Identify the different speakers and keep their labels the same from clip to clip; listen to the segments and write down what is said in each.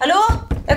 Speaker 1: Hallo? Jeg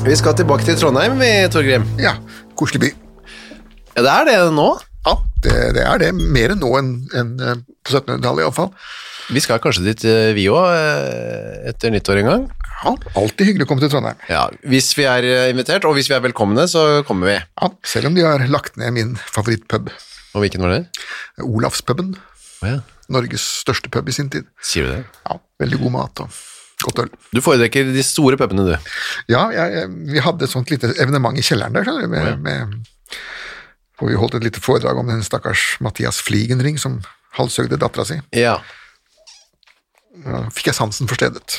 Speaker 2: Vi skal tilbake til Trondheim, vi, Torgrim.
Speaker 3: Ja, koselig by.
Speaker 2: Ja, det er det nå.
Speaker 3: Ja, det, det er det. Mer enn nå enn enn, eh, på 1700-tallet iallfall.
Speaker 2: Vi skal kanskje dit, eh, vi òg, etter nyttår en gang.
Speaker 3: Ja, alltid hyggelig å komme til Trondheim.
Speaker 2: Ja, Hvis vi er eh, invitert, og hvis vi er velkomne, så kommer vi.
Speaker 3: Ja, selv om de har lagt ned min favorittpub,
Speaker 2: Og hvilken var det?
Speaker 3: Olavspuben.
Speaker 2: Å ja.
Speaker 3: Norges største pub i sin tid.
Speaker 2: Sier du det?
Speaker 3: Ja, veldig god mat og godt øl.
Speaker 2: Du foretrekker de store pubene, du.
Speaker 3: Ja, jeg, jeg- vi hadde et sånt lite evenement i kjelleren der, skjønner du, med, med, hvor vi holdt et lite foredrag om den stakkars Mathias Fligenring som halshøgde dattera si.
Speaker 2: Ja.
Speaker 3: Da fikk jeg sansen for stedet.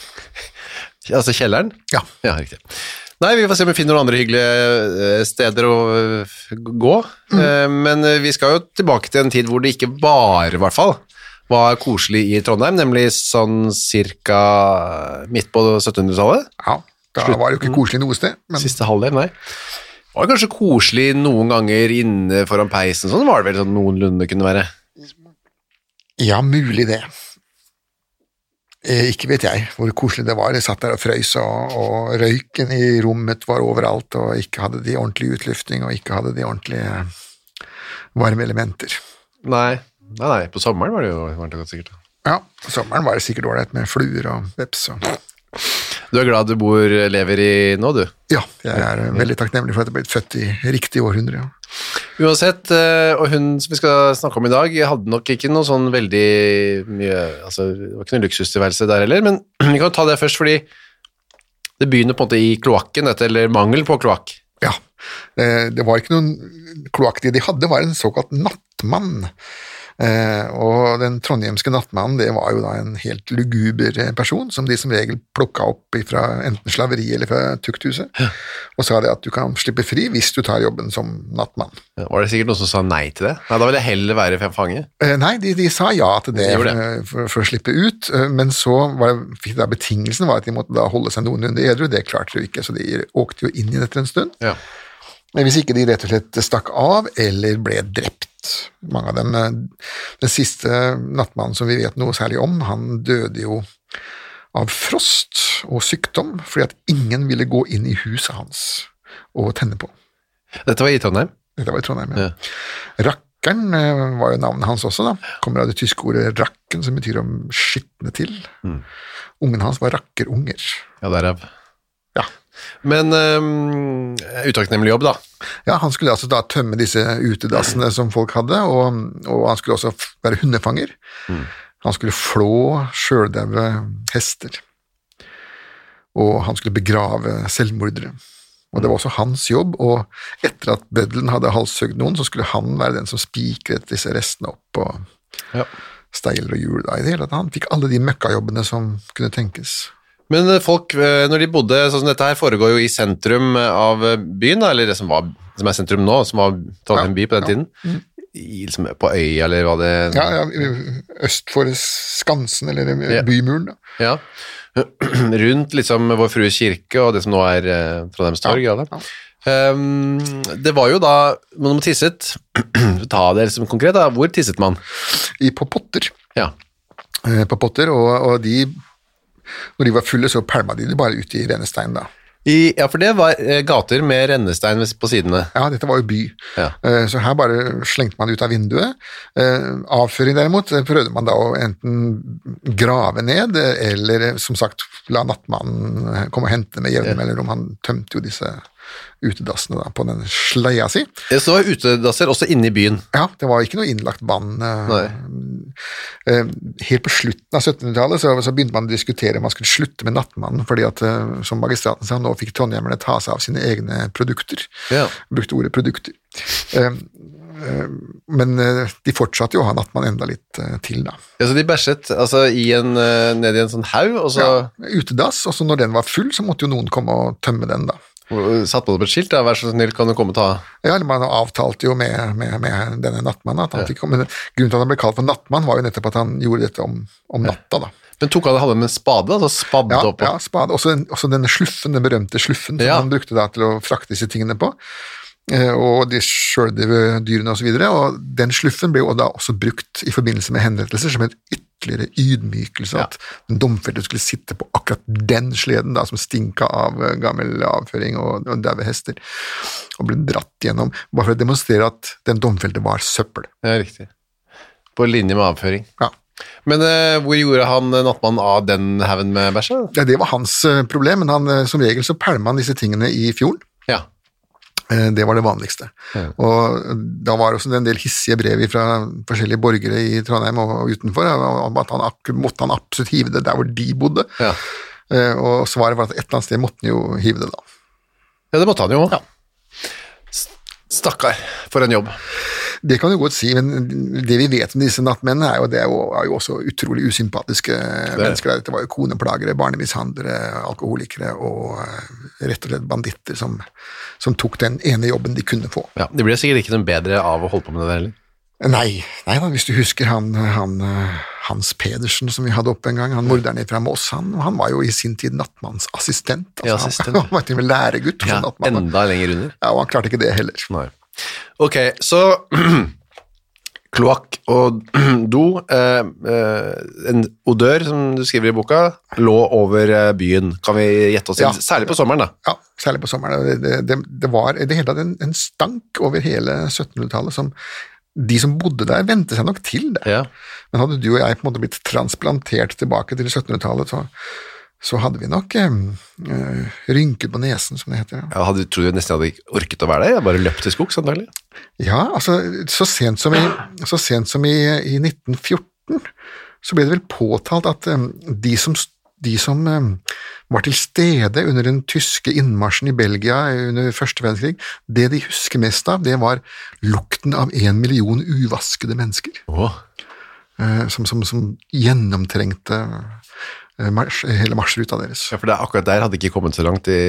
Speaker 2: Altså kjelleren?
Speaker 3: Ja.
Speaker 2: Ja, riktig. Nei, vi får se om vi finner noen andre hyggelige eh, steder å eh, gå.
Speaker 3: Mm.
Speaker 2: Eh, Men eh, vi skal jo tilbake til en tid hvor det ikke bare, i hvert fall, var koselig i Trondheim, nemlig sånn cirka midt på 1700-tallet.
Speaker 3: Ja, da var det jo ikke koselig noe sted, men
Speaker 2: Siste halvdel, nei. Det var kanskje koselig noen ganger inne foran peisen, sånn var det vel sånn noenlunde kunne være.
Speaker 3: ja, mulig det. Eh, Ikke vet jeg hvor koselig det var. Jeg satt der og frøys, og, og røyken i rommet var overalt, og ikke hadde de ordentlig utlufting, og ikke hadde de ordentlige eh, varme elementer.
Speaker 2: Nei, nei, nei på sommeren var det jo varmt og godt sikkert.
Speaker 3: Ja, på sommeren var det sikkert ålreit med fluer og veps og
Speaker 2: Du er glad du bor, lever i nå, du?
Speaker 3: Ja, jeg er eh, veldig takknemlig for at jeg ble født i riktig århundre. ja.
Speaker 2: Uansett, eh, og hun som vi skal snakke om i dag, hadde nok ikke noe sånn veldig mye altså, Det var ikke noe luksustilværelse der heller, men vi kan jo ta det først, fordi det begynner på en måte i kloakken, dette, eller mangel på kloakk.
Speaker 3: Ja, eh, det var ikke noen kloakk. Det de hadde, var en såkalt nattmann. Eh, Og den trondhjemske nattmannen det var jo da en helt luguber eh, person, som de som regel plukka opp fra enten slaveri eller fra tukthuset, og sa det at du kan slippe fri hvis du tar jobben som nattmann.
Speaker 2: Ja, Var det sikkert noen som sa nei til det? Nei, da ville jeg heller være fange.
Speaker 3: Eh, Nei, de, de sa ja til det,
Speaker 2: De gjorde
Speaker 3: eh, for, for å slippe ut, eh, men så var det, fikk de da betingelsen var at de måtte da holde seg noenlunde edru. Det klarte de jo ikke, så de åkte jo inn igjen etter en stund.
Speaker 2: Ja.
Speaker 3: Men hvis ikke de rett og slett stakk av eller ble drept. Mange av dem eh, Den siste nattmannen som vi vet noe særlig om, han døde jo av frost og sykdom fordi at ingen ville gå inn i huset hans og tenne på.
Speaker 2: Dette var i Trondheim.
Speaker 3: Dette var i Trondheim, ja. Rakkeren eh, var jo navnet hans også, da. Kommer av det tyske ordet 'rakken', som betyr å skitne til. Ungen hans var rakkerunger.
Speaker 2: Ja, derav.
Speaker 3: Ja.
Speaker 2: Men um, utakknemlig jobb, da.
Speaker 3: Ja, Han skulle altså da tømme disse utedassene som folk hadde, og, og han skulle også f- være hundefanger. Han skulle flå sjøldaue hester, og han skulle begrave selvmordere. Og Det var også hans jobb, og etter at bøddelen hadde halshugd noen, så skulle han være den som spikret disse restene opp på
Speaker 2: Ja.
Speaker 3: steiler og hjul. Da. I det hele tatt, han fikk alle de møkkajobbene som kunne tenkes.
Speaker 2: Men eh, folk, eh, når de bodde sånn som dette her, foregår jo i sentrum eh, av eh, byen, da, eller det som, var, som er sentrum nå, som var Trondheim by på den tiden. I, liksom, på øya, eller hva det
Speaker 3: Ja, ja, øst for skansen, eller
Speaker 2: Ja.
Speaker 3: bymuren. Da.
Speaker 2: Ja. Rundt liksom Vår Frue kirke og det som nå er eh, Trondheims torg. Ja, da. Ehm, det var jo da når man tisset Ta det liksom konkret, da. Hvor tisset man?
Speaker 3: I, på potter.
Speaker 2: Ja.
Speaker 3: eh, På potter og, og de Når de var fulle, så pælma de det bare ut i rene stein, da.
Speaker 2: I, ja, for det var eh, gater med rennestein ved- på sidene.
Speaker 3: Ja, dette var jo by,
Speaker 2: Ja.
Speaker 3: Eh, så her bare slengte man det ut av vinduet. Eh, Avføring derimot eh, prøvde man da å enten grave ned, eh, eller eh, som sagt la nattmannen eh, komme og hente med jevne mellomrom. Han tømte jo disse utedassene da på den sleia si.
Speaker 2: Det så utedasser også inne i byen.
Speaker 3: Ja, det var ikke noe innlagt vann. eh,
Speaker 2: Nei.
Speaker 3: Eh, Helt på slutten av 1700-tallet så, så begynte man å diskutere om man skulle slutte med nattmannen, fordi at, eh, som magistraten sa, nå fikk trondhjemmerne ta seg av sine egne produkter.
Speaker 2: Ja.
Speaker 3: Brukte ordet produkter. Eh, eh, Men eh, de fortsatte jo å ha nattmann enda litt eh, til, da.
Speaker 2: Ja, så de bæsjet altså, i en, eh, ned i en sånn haug, og så
Speaker 3: Utedass, og så når den var full, så måtte jo noen komme og tømme den, da.
Speaker 2: satte man opp et skilt. Da. Vær så snill, kan du komme og ta
Speaker 3: Ja, eller Man avtalte jo med, med, med denne nattmannen at han fikk komme. Men grunnen til at han ble kalt for nattmann, var jo nettopp at han gjorde dette om, om natta, da.
Speaker 2: Men tok han hadde med en spade, da, så spadde
Speaker 3: Ja,
Speaker 2: opp?
Speaker 3: ja spade. Også, den- også denne sluffen, den berømte sluffen som
Speaker 2: Ja.
Speaker 3: han brukte da til å frakte disse tingene på. eh, Og de sjøldøve dyrene osv. Og den sluffen ble jo da også brukt i forbindelse med henrettelser som en ytterligere ydmykelse. At den domfelte skulle sitte på akkurat den sleden da, som stinka av eh, gammel avføring og, og daue hester, og ble dratt gjennom. Bare for å demonstrere at den domfelte var søppel.
Speaker 2: Ja, riktig. På linje med avføring.
Speaker 3: Ja.
Speaker 2: Men eh, hvor gjorde han eh, nattmannen av den haugen med bæsja?
Speaker 3: Ja, det var hans eh, problem, men han, eh, som regel så pælma han disse tingene i fjorden.
Speaker 2: Ja.
Speaker 3: Eh, Det var det vanligste. Og da var det også en del hissige brev fra forskjellige borgere i Trondheim og og utenfor eh, om at han ak- måtte han absolutt hive det der hvor de bodde.
Speaker 2: Ja.
Speaker 3: Eh, Og svaret var at et eller annet sted måtte han jo hive det, da.
Speaker 2: ja, det måtte han jo. S- Stakkar, for en jobb.
Speaker 3: Det kan du godt si, men det vi vet om disse nattmennene, er jo, det er jo, er jo også utrolig usympatiske eh, mennesker. Dette var jo koneplagere, barnemishandlere, alkoholikere og eh, rett og slett banditter som, som tok den ene jobben de kunne få.
Speaker 2: Ja, De ble sikkert ikke noe bedre av å holde på med det der heller.
Speaker 3: Nei, nei da, hvis du husker han, han eh, Hans Pedersen som vi hadde oppe en gang, han morderen fra Moss, han, han var jo i sin tid nattmannsassistent. Altså,
Speaker 2: Ja, assistent.
Speaker 3: Han, han var til og med læregutt hos
Speaker 2: Ja,
Speaker 3: en nattmann.
Speaker 2: enda lenger under.
Speaker 3: Ja, og han klarte ikke det heller.
Speaker 2: Nei. Ok, så kloakk og do, eh, eh, en odør, som du skriver i boka, lå over eh, byen, kan vi gjette oss
Speaker 3: Ja.
Speaker 2: inn, særlig på sommeren da.
Speaker 3: Ja, særlig på sommeren. Det, det, det, det var i det hele tatt en, en stank over hele 1700-tallet som de som bodde der, vente seg nok til det.
Speaker 2: Ja.
Speaker 3: Men hadde du og jeg på en måte blitt transplantert tilbake til 1700-tallet, så, så hadde vi nok eh, eh, rynker på nesen, som det heter. Ja.
Speaker 2: Jeg hadde, tror jeg nesten jeg hadde ikke orket å være der, jeg bare løpt til skog samtidig.
Speaker 3: Ja, altså så sent som i, så sent som i, i 1914 så ble det vel påtalt at em, de som, s- de som em, var til stede under den tyske innmarsjen i Belgia under første verdenskrig, det de husker mest av, det var lukten av en million uvaskede mennesker
Speaker 2: Åh,
Speaker 3: eh, som, som, som gjennomtrengte eh, mars, hele marsjruta deres.
Speaker 2: ja, for det, er akkurat der hadde ikke kommet så langt i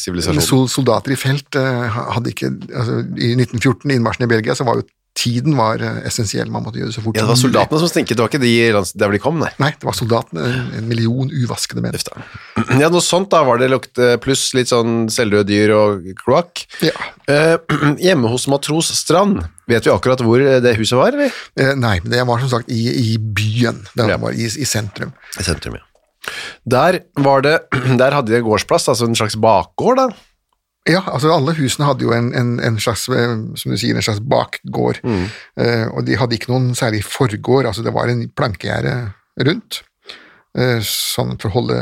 Speaker 2: sivilisasjonen.
Speaker 3: Sol, soldater i felt eh, hadde ikke altså, I 1914, innmarsjen i Belgia, så var jo tiden var eh, essensiell. Man måtte gjøre det så fort
Speaker 2: Ja, det var soldatene som stinket, det var ikke de lands, der hvor de kom, nei.
Speaker 3: Nei, det var soldatene. En, en million uvaskede menn.
Speaker 2: Uff da. Ja, noe sånt da var det lukt, eh, pluss litt sånn selvdøde dyr og kloakk.
Speaker 3: Ja.
Speaker 2: Eh, hjemme hos Matros Strand, vet vi akkurat hvor eh, det huset var, eller?
Speaker 3: Eh, nei, men det var som sagt i, i byen. Det
Speaker 2: Ja.
Speaker 3: var i, i sentrum.
Speaker 2: I sentrum, ja. Der, var det, der hadde de gårdsplass, altså en slags bakgård, da.
Speaker 3: Ja, altså alle husene hadde jo en, en, en slags eh, som du sier, en slags bakgård.
Speaker 2: Mm.
Speaker 3: Eh, og de hadde ikke noen særlig forgård, altså det var en plankegjerde rundt. eh, sånn for å holde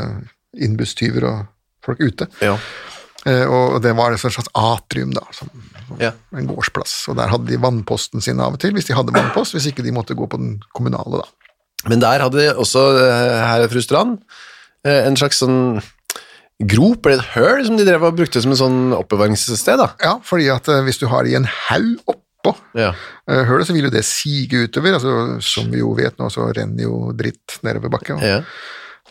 Speaker 3: innbudstyver og folk ute.
Speaker 2: Ja.
Speaker 3: Eh, og det var et slags atrium, da. Som, som
Speaker 2: Ja.
Speaker 3: En gårdsplass. Og der hadde de vannposten sin av og til, hvis de hadde vannpost. Hvis ikke de måtte gå på den kommunale, da.
Speaker 2: Men der hadde de også, eh, her fru Strand, eh, en slags sånn grop, eller et høl, som de drev og brukte som en sånn oppbevaringssted, da.
Speaker 3: Ja, fordi at eh, hvis du har i en haug oppå
Speaker 2: Ja.
Speaker 3: eh, hølet, så vil jo det sige utover. altså Som vi jo vet nå, så renner jo dritt nedover bakken.
Speaker 2: Ja.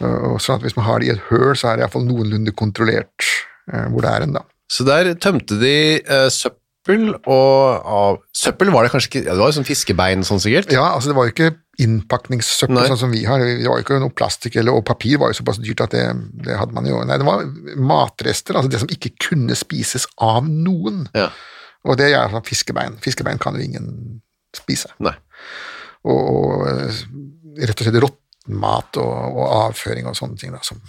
Speaker 3: Og, og sånn at hvis man har det i et høl, så er det iallfall noenlunde kontrollert eh, hvor det er en, da.
Speaker 2: Så der tømte de eh, søppel og av... Søppel var det kanskje ikke... Ja, det var jo sånn fiskebein, sånn sikkert.
Speaker 3: Ja, altså det var jo ikke innpakningssøppel
Speaker 2: Nei.
Speaker 3: sånn som vi har. Det var jo ikke noe plastikk, eller, og papir var jo såpass dyrt at det, det hadde man jo Nei, det var matrester, altså det som ikke kunne spises av noen.
Speaker 2: Ja.
Speaker 3: Og det er sånn fiskebein. Fiskebein kan jo ingen spise.
Speaker 2: Nei.
Speaker 3: Og, og eh, rett og slett råttmat og, og avføring og sånne ting. Da, som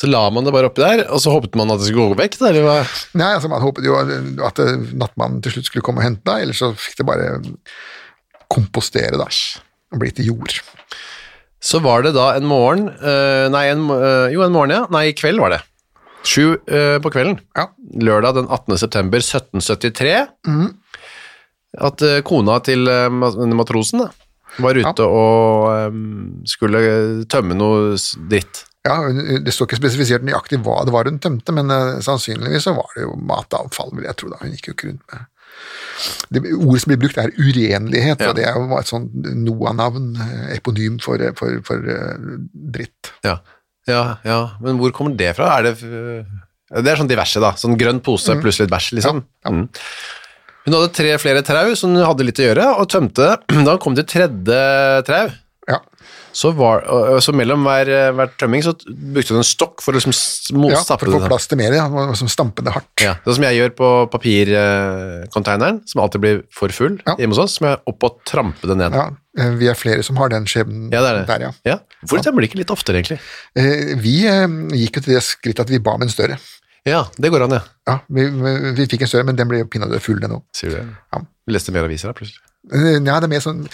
Speaker 2: Så la man det bare oppi der, og så håpet man at det skulle gå vekk, da, eller hva?
Speaker 3: Nei, altså Man håpet jo at eh, nattmannen til slutt skulle komme og hente deg, ellers så fikk det bare kompostere da, og bli til jord.
Speaker 2: Så var det da en morgen, eh, nei, en, eh, jo en morgen, ja, nei, i kveld var det. Sju eh, på kvelden,
Speaker 3: Ja.
Speaker 2: lørdag den 18. september 1773, at eh, kona til eh, ma- matrosen da, var ute og eh, skulle tømme noe s- dritt.
Speaker 3: Ja, hun- Det står ikke spesifisert nøyaktig hva det var hun tømte, men eh, sannsynligvis så var det jo matavfall, vil jeg tro. da. Hun gikk jo ikke rundt med det Ordet som blir brukt, er urenlighet,
Speaker 2: Ja.
Speaker 3: og det er jo et sånn NOAH-navn, eh, eponym for, eh, for, for eh, dritt.
Speaker 2: Ja. ja, ja, men hvor kommer det fra? Er det, eh, det er sånn diverse da, sånn grønn pose pluss litt bæsj liksom. Mm. Hun hadde tre flere trau som hun hadde litt å gjøre, og tømte, da hun kom til tredje trau,
Speaker 3: Ja,
Speaker 2: Så, var, og- og så mellom hver, hver tømming så brukte du en stokk for å liksom småstappe
Speaker 3: ja for å få
Speaker 2: det.
Speaker 3: plass til mer, ja, og- og som stampende hardt.
Speaker 2: Ja, det er som jeg gjør på papirkonteineren, som alltid blir for full
Speaker 3: Ja.
Speaker 2: hjemme hos oss, må jeg opp og trampe det ned.
Speaker 3: Ja, eh, Vi er flere som har den skjebnen
Speaker 2: Ja, det er det.
Speaker 3: der, ja.
Speaker 2: Ja. Hvorfor tømmer de ikke litt oftere, egentlig?
Speaker 3: Eh, Vi eh, gikk jo til det skritt at vi ba om en større.
Speaker 2: Ja, det går an, ja.
Speaker 3: Ja, vi, vi- vi fikk en større, men den ble jo pinadø full, den òg.
Speaker 2: Sier du det?
Speaker 3: Ja.
Speaker 2: Vi leste mer aviser da, plutselig.
Speaker 3: Eh, Ja, det er mer sånn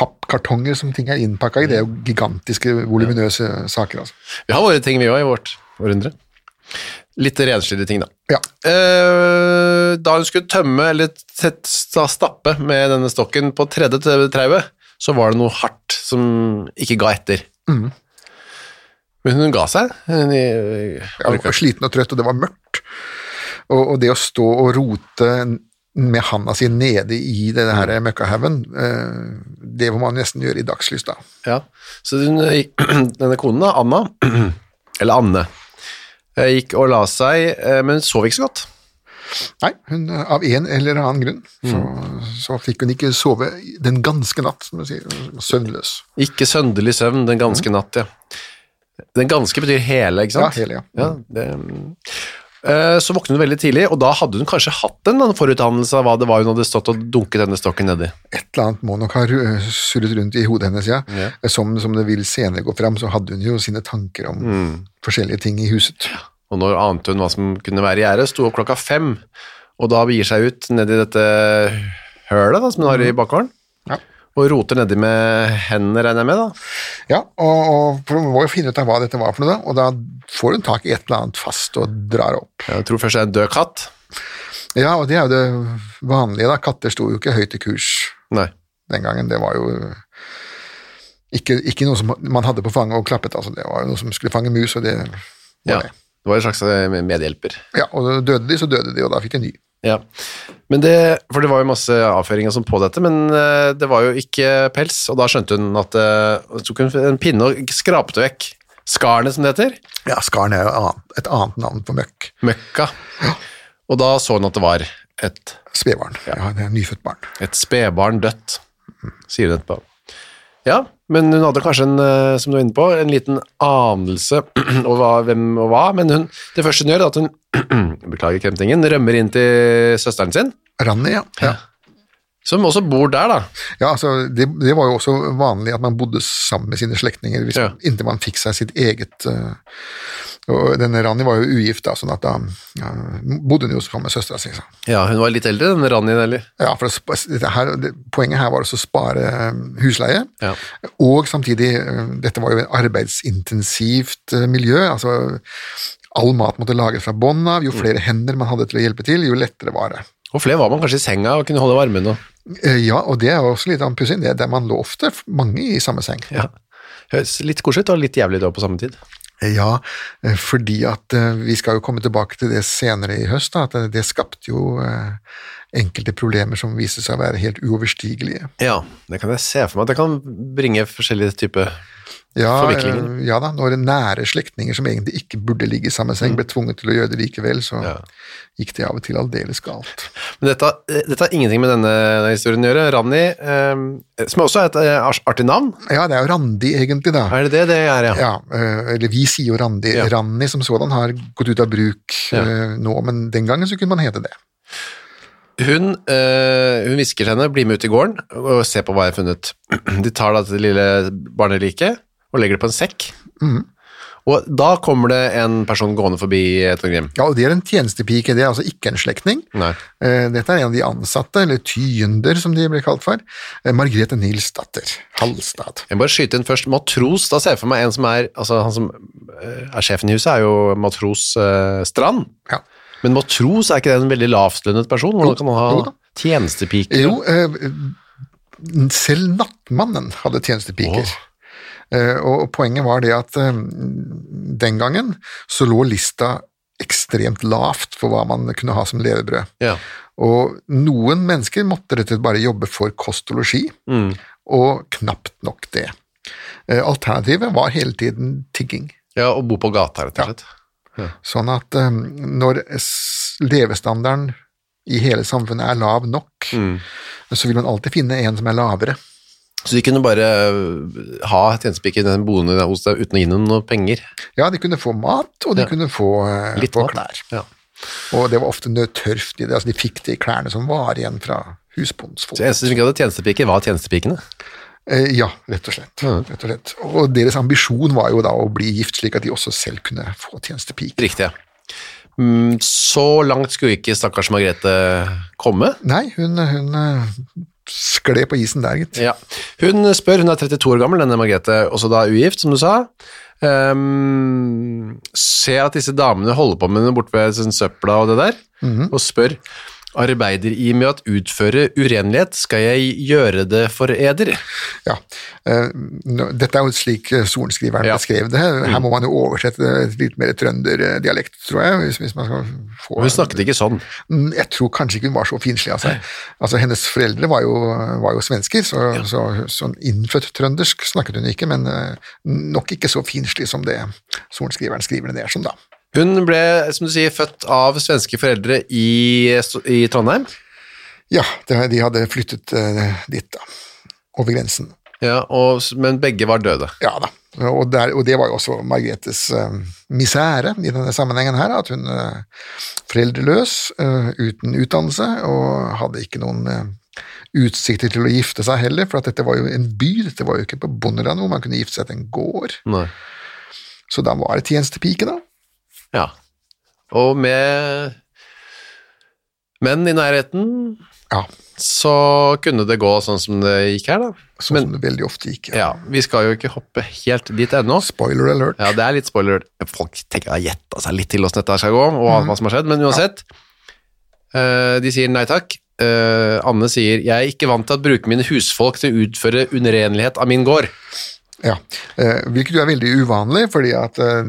Speaker 3: pappkartonger som ting er innpakka i. Det er jo gigantiske, voluminøse saker, altså.
Speaker 2: Vi har våre ting, vi òg, i vårt århundre. Litt rensligere ting, da.
Speaker 3: Ja.
Speaker 2: Eh, da hun skulle tømme, eller tett- sta- stappe med denne stokken på tredje t- trauet, så var det noe hardt som ikke ga etter. Men hun ga seg. Hun, eh,
Speaker 3: Jeg var sliten og trøtt, og det var mørkt. Og, og det å stå og rote med handa si nede i denne her møkkahaugen, eh, det må man nesten gjøre i dagslys, da.
Speaker 2: ja. Så hun, gikk- denne konen, da, Anna, eller Anne, eh, gikk og la seg, eh, men hun sov ikke så godt.
Speaker 3: Nei, hun, eh, av en eller annen grunn så, så fikk hun ikke sove den ganske natt, som du sier. Hun var Søvnløs.
Speaker 2: Ikke sønderlig søvn den ganske natt, ja. Den ganske betyr hele, ikke sant?
Speaker 3: Mm. Ja, hele, ja.
Speaker 2: det, Eh, så våknet hun veldig tidlig, og da hadde hun kanskje hatt en eller annen forutdannelse av hva det var hun hadde stått og dunket denne stokken nedi.
Speaker 3: Et eller annet må nok ha ru- surret rundt i hodet hennes, ja.
Speaker 2: Ja.
Speaker 3: Som, som det vil senere gå fram, så hadde hun jo sine tanker om forskjellige ting i huset.
Speaker 2: Og nå ante hun hva som kunne være i gjære, sto opp klokka fem, og da begir seg ut nedi dette hølet da, som hun har i bakgården,
Speaker 3: Mm. Ja.
Speaker 2: og roter nedi med hendene, regner jeg med da.
Speaker 3: Ja, og, og for Hun må jo finne ut av hva dette var for noe, da, og da får hun tak i et eller annet fast og drar opp.
Speaker 2: Jeg tror først det er en død katt.
Speaker 3: Ja, og det er jo det vanlige, da. Katter sto jo ikke høyt i kurs
Speaker 2: Nei.
Speaker 3: den gangen. Det var jo ikke, ikke noe som man hadde på fanget og klappet, altså. Det var jo noe som skulle fange mus, og det var
Speaker 2: Ja.
Speaker 3: det.
Speaker 2: Det var en slags eh, medhjelper.
Speaker 3: Ja, og døde de, så døde de, og da fikk de ny.
Speaker 2: Ja, men det, for det var jo masse avføringer som på dette, men eh, det var jo ikke pels, og da skjønte hun at eh, og tok hun en pinne og skrapte vekk skarene, som det heter,
Speaker 3: Ja, Skarn er jo annet, et annet navn på møkk.
Speaker 2: møkka, og da så hun at det var et,
Speaker 3: Spedbarn. Ja. det er nyfødt barn.
Speaker 2: et spebarn dødt, sier hun etterpå. Ja, men hun hadde kanskje en, eh, som du var inne på, en liten anelse over hva- hvem og hva, men hun, det første hun gjør er at hun, beklager kremtingen, rømmer inn til søsteren sin,
Speaker 3: Ranni, ja. ja.
Speaker 2: som også bor der da.
Speaker 3: ja altså, det, det var jo også vanlig at man bodde sammen med sine slektninger hvis-
Speaker 2: Ja.
Speaker 3: inntil man fikk seg sitt eget eh, og Denne Ranni var jo ugift, da, sånn at da ja, bodde hun jo sammen med søstera si. så.
Speaker 2: Ja, hun var litt eldre, den Ranni, eller?
Speaker 3: Ja, for det, sp- dette her, det, poenget her var også å spare eh, husleie,
Speaker 2: Ja.
Speaker 3: og samtidig eh, Dette var jo et arbeidsintensivt eh, miljø. altså All mat måtte lages fra bånn av. Jo flere hender man hadde til å hjelpe til, jo lettere var det.
Speaker 2: Og flere var man kanskje i senga og kunne holde varmen. Og,
Speaker 3: Eh, Ja, og det er jo også litt av en pussig. Det er der man lå ofte, f- mange i samme seng.
Speaker 2: ja. Høres litt koselig ut og litt jævlig da på samme tid.
Speaker 3: Eh, Ja, eh, fordi at eh, vi skal jo komme tilbake til det senere i høst, da, at eh, det skapte jo eh, enkelte problemer som viste seg å være helt uoverstigelige.
Speaker 2: Ja, det kan jeg se for meg. at Det kan bringe forskjellige typer
Speaker 3: Ja,
Speaker 2: Forviklinger.
Speaker 3: eh, ja da, når nære slektninger som egentlig ikke burde ligge i samme seng, ble tvunget til å gjøre det likevel, så
Speaker 2: Mm. Ja.
Speaker 3: gikk det av og til aldeles galt.
Speaker 2: Men dette, eh, dette har ingenting med denne historien å gjøre. Ranni, eh, som også er et eh, ars- artig navn.
Speaker 3: Ja, det er jo Randi egentlig, da.
Speaker 2: Er det det det er, ja?
Speaker 3: Ja, eh, eller vi sier jo Randi.
Speaker 2: Ja.
Speaker 3: Ranni som sådan har gått ut av bruk
Speaker 2: Ja.
Speaker 3: eh, nå, men den gangen så kunne man hete det.
Speaker 2: Hun, eh, hun hvisker til henne, bli med ut i gården og se på hva jeg har funnet. De tar da det lille barneliket og legger det på en sekk. Mhm. Og da kommer det en person gående forbi et og grim.
Speaker 3: Ja, og det er en tjenestepike, det er altså ikke en slektning.
Speaker 2: Nei.
Speaker 3: Eh, Dette er en av de ansatte, eller tyender som de ble kalt for. Eh, Margrethe Nilsdatter Halstad.
Speaker 2: Jeg må bare skyte inn først. Matros, da ser jeg for meg en som er altså han som eh, er sjefen i huset, er jo Matros eh, Strand.
Speaker 3: Ja.
Speaker 2: Men matros, er ikke det en veldig lavtlønnet person? Hvordan kan han
Speaker 3: jo
Speaker 2: ha
Speaker 3: da.
Speaker 2: tjenestepike?
Speaker 3: Jo, eh, selv nattmannen hadde tjenestepiker. Eh, Og poenget var det at eh, den gangen så lå lista ekstremt lavt for hva man kunne ha som levebrød.
Speaker 2: Ja.
Speaker 3: Og noen mennesker måtte rett og slett bare jobbe for kost og losji,
Speaker 2: Mm.
Speaker 3: og knapt nok det. Eh, Alternativet var hele tiden tigging.
Speaker 2: ja, og bo på gata, rett og slett.
Speaker 3: Sånn at eh, når s- levestandarden i hele samfunnet er lav nok,
Speaker 2: Mm.
Speaker 3: så vil man alltid finne en som er lavere.
Speaker 2: Så de kunne bare eh, ha tjenestepike den boende der hos deg uten å gi henne noe penger?
Speaker 3: Ja, de kunne få mat, og de kunne få, eh,
Speaker 2: Litt
Speaker 3: få
Speaker 2: mat.
Speaker 3: klær.
Speaker 2: Ja.
Speaker 3: Og det var ofte nødtørft i det. Altså, de fikk de klærne som var igjen fra husbondens folk.
Speaker 2: Så eneste som ikke hadde tjenestepiker, var tjenestepikene.
Speaker 3: Eh, ja, rett og slett. Rett og slett. Og deres ambisjon var jo da å bli gift, slik at de også selv kunne få tjenestepike.
Speaker 2: Riktig, ja. Mm, Så langt skulle ikke stakkars Margrethe komme.
Speaker 3: Nei, hun, hun eh, skled på isen der, gitt.
Speaker 2: Ja. Hun spør, hun er 32 år gammel, denne Margrethe, også da ugift, som du sa. Ehm, ser at disse damene holder på med noe borte ved sånn søpla og det der, og spør arbeider i med at utføre urenlighet, skal jeg gjøre det for eder?
Speaker 3: Ja. eh, nå- Dette er jo slik eh, sorenskriveren
Speaker 2: Ja. Mm.
Speaker 3: beskrev det. Her må man jo oversette det litt mer trønderdialekt, tror jeg. Hvis, hvis man skal få
Speaker 2: Og hun snakket ikke sånn.
Speaker 3: Mm, Jeg tror kanskje ikke hun var så finslig av seg. Altså, hennes foreldre var jo, var jo svensker, så, så sånn innfødt trøndersk snakket hun ikke, men eh, nok ikke så finslig som det sorenskriveren skriver det ned som, da.
Speaker 2: Hun ble, som du sier, født av svenske foreldre i, i Trondheim,
Speaker 3: Ja, det, de hadde flyttet eh, dit, da. Over grensen.
Speaker 2: ja, og, men begge var døde.
Speaker 3: Ja da. Og, der, og det var jo også Margrethes eh, misere i denne sammenhengen her, at hun eh, foreldreløs, eh, uten utdannelse, og hadde ikke noen eh, utsikter til å gifte seg heller, for at dette var jo en by, dette var jo ikke på bondelandet hvor man kunne gifte seg til en gård.
Speaker 2: Nei.
Speaker 3: Så da var det tjenestepike, da.
Speaker 2: Ja. Og med menn i nærheten,
Speaker 3: Ja,
Speaker 2: så kunne det gå sånn som det gikk her, da.
Speaker 3: sånn som det veldig ofte gikk.
Speaker 2: Ja, vi skal jo ikke hoppe helt dit ennå.
Speaker 3: Spoiler alert.
Speaker 2: Ja, det er litt spoiler. Folk tenker har gjetta seg litt til åssen dette her skal gå, og hva- hva som har skjedd, men uansett. eh, de sier nei takk. Eh, Anne sier 'jeg er ikke vant til å bruke mine husfolk til å utføre urenlighet av min gård'.
Speaker 3: Ja. Eh, hvilket jo er veldig uvanlig, fordi at eh,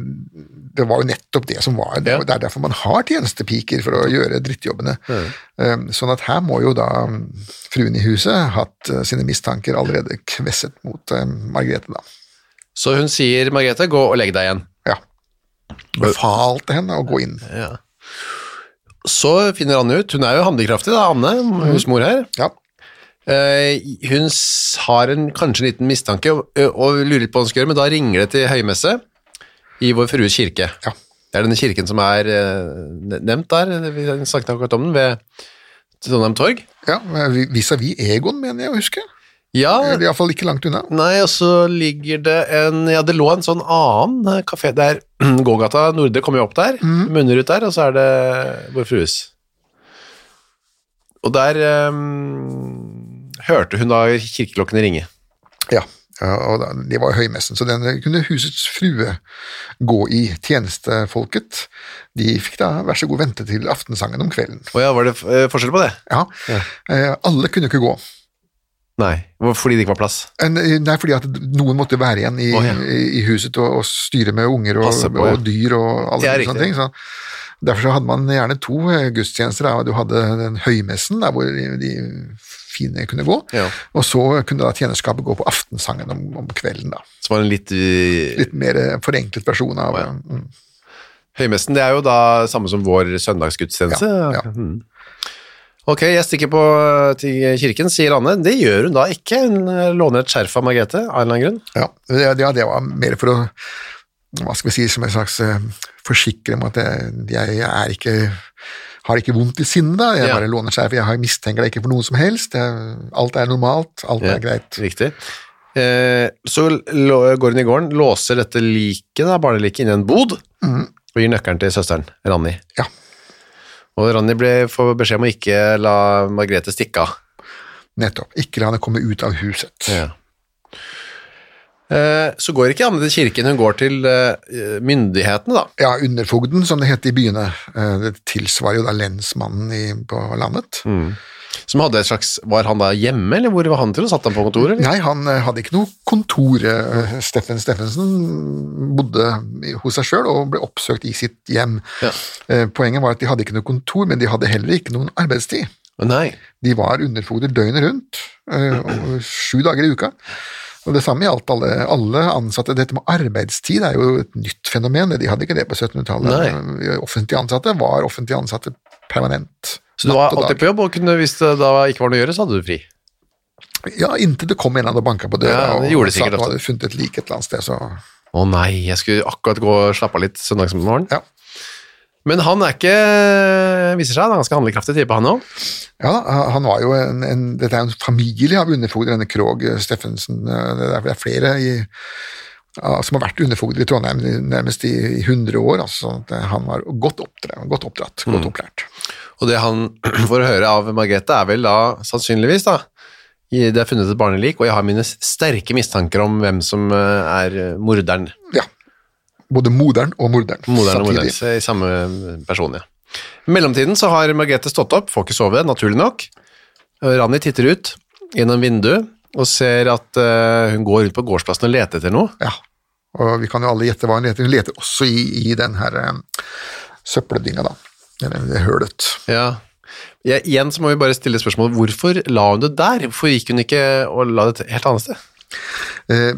Speaker 3: det var jo nettopp det som var det.
Speaker 2: Ja.
Speaker 3: og Det er derfor man har tjenestepiker, for å gjøre drittjobbene. Eh, sånn at her må jo da mm, fruen i huset hatt eh, sine mistanker allerede kvesset mot eh, Margrethe, da.
Speaker 2: Så hun sier 'Margrethe, gå og legg deg igjen'.
Speaker 3: Ja. Befalte henne å gå inn.
Speaker 2: Så finner Anne ut, hun er jo handlekraftig da, Anne, husmor her.
Speaker 3: Ja.
Speaker 2: Eh, hun s- har en, kanskje en liten mistanke og, eh, og lurer litt på hva hun skal gjøre, men da ringer det til høymesse i Vår Frues kirke.
Speaker 3: Ja.
Speaker 2: Det er denne kirken som er eh, ne- nevnt der, vi snakket akkurat om den, ved Trondheim Torg.
Speaker 3: ja eh, Vis-à-vis Egon, mener jeg å huske.
Speaker 2: Ja,
Speaker 3: Eller Iallfall ikke langt unna.
Speaker 2: nei, og så ligger det en, ja, det lå en sånn annen eh, kafé der, Gågata Nordre kommer jo opp der, munner ut der, og så er det Vår Frues. Og der eh, hørte hun da kirkeklokkene ringe.
Speaker 3: Ja, ja, og da, det var jo høymessen, så den kunne husets frue gå i tjenestefolket. De fikk da vær så god vente til aftensangen om kvelden.
Speaker 2: Å ja, var det eh, forskjell på det?
Speaker 3: Ja, Eh, alle kunne ikke gå.
Speaker 2: Nei, hvor- fordi det ikke var plass.
Speaker 3: En- Nei, fordi at noen måtte være igjen i,
Speaker 2: Å, ja.
Speaker 3: i i huset og, og styre med unger og,
Speaker 2: Passe på, ja.
Speaker 3: og dyr og alle
Speaker 2: Det er
Speaker 3: sånne
Speaker 2: riktig.
Speaker 3: ting. Så, Derfor så hadde man gjerne to eh, gudstjenester. da. Du hadde den høymessen, der hvor de de fine kunne gå,
Speaker 2: Ja.
Speaker 3: og så kunne da tjenerskapet gå på aftensangen om, om kvelden. da.
Speaker 2: Så var det en litt, eh,
Speaker 3: Litt mer eh, forenklet versjon av
Speaker 2: Ja.
Speaker 3: mm,
Speaker 2: Høymessen, det er jo da samme som vår søndagsgudstjeneste.
Speaker 3: Ja, ja.
Speaker 2: Mm. Ok, jeg stikker på eh, til kirken, sier Anne. Det gjør hun da ikke. Hun eh, låner et skjerf av Margrethe, av en eller annen grunn.
Speaker 3: Ja, det, ja, det var mer for å hva skal vi si, som en slags eh, forsikre om at jeg, jeg, jeg er ikke har ikke vondt i sinnet, da. Jeg
Speaker 2: Ja.
Speaker 3: bare låner skjerf. Jeg har- mistenker deg ikke for noe som helst. Jeg, alt er normalt. Alt
Speaker 2: Ja,
Speaker 3: er greit.
Speaker 2: Riktig. Eh, så lå- går hun i gården, låser dette liket, da, barneliket, inn i en bod, og gir nøkkelen til søsteren, Ranni.
Speaker 3: Ja.
Speaker 2: Og Ranni ble, får beskjed om å ikke la Margrethe stikke av.
Speaker 3: Nettopp. Ikke la henne komme ut av huset.
Speaker 2: Eh, så går ikke Anne til kirken, hun går til eh, myndighetene, da.
Speaker 3: Ja, underfogden, som det het i byene. Eh, Det tilsvarer jo da lensmannen i, på landet.
Speaker 2: Som hadde et slags Var han da hjemme, eller hvor var han til? og Satt han på kontoret? liksom? eller?
Speaker 3: Nei, han eh, hadde ikke noe kontor. eh, Steffen Steffensen bodde i- hos seg sjøl og ble oppsøkt i sitt hjem.
Speaker 2: Ja.
Speaker 3: Eh, Poenget var at de hadde ikke noe kontor, men de hadde heller ikke noen arbeidstid.
Speaker 2: Nei.
Speaker 3: De var underfogder døgnet rundt, eh, og sju dager i uka. Og Det samme gjaldt alle, alle ansatte. Dette med arbeidstid er jo et nytt fenomen. De hadde ikke det på 1700-tallet. Eh, Offentlig ansatte var offentlig ansatte permanent.
Speaker 2: Så du
Speaker 3: Natt
Speaker 2: var
Speaker 3: og dag.
Speaker 2: alltid på jobb, og kunne, hvis det da ikke var noe å gjøre, så hadde du fri.
Speaker 3: Ja, inntil det kom en eller annen og banka på døra
Speaker 2: Ja, det gjorde
Speaker 3: og
Speaker 2: det
Speaker 3: sa
Speaker 2: sikkert
Speaker 3: at nå
Speaker 2: ofte.
Speaker 3: hadde de funnet et lik et eller annet sted. så...
Speaker 2: Å nei, jeg skulle akkurat gå og slappe av litt søndagsmorgen.
Speaker 3: Ja.
Speaker 2: Men han er ikke viser seg, han er ganske handlekraftig type, han òg.
Speaker 3: Ja, da, han var jo en, en, dette er jo en familie av underfogder, denne Krog eh, Steffensen. eh, Det er, det er flere i, ja, som har vært underfogder i Trondheim i- nærmest i, i 100 år. Altså, sånn at, eh, han var godt oppdratt, godt, oppdratt, godt
Speaker 2: Mm.
Speaker 3: opplært.
Speaker 2: Og det han får høre av Margrethe, er vel da sannsynligvis, da i- Det er funnet et barnelik, og jeg har mine sterke mistanker om hvem som eh, er morderen.
Speaker 3: Ja. Både moderen og morderen.
Speaker 2: Moderen og
Speaker 3: samtidig.
Speaker 2: moderen, så i samme person, ja. I mellomtiden så har Margrethe stått opp, får ikke sove, naturlig nok. Ranni titter ut gjennom vinduet og ser at eh, hun går rundt på gårdsplassen og leter etter noe.
Speaker 3: Ja. Og vi kan jo alle gjette hva hun leter. Hun leter også i, i den her eh, søppeldynga, da. Eller det hølet.
Speaker 2: Ja. Ja, igjen så må vi bare stille spørsmålet, hvorfor la hun det der? Hvorfor gikk hun ikke og la det et helt annet sted?
Speaker 3: Eh,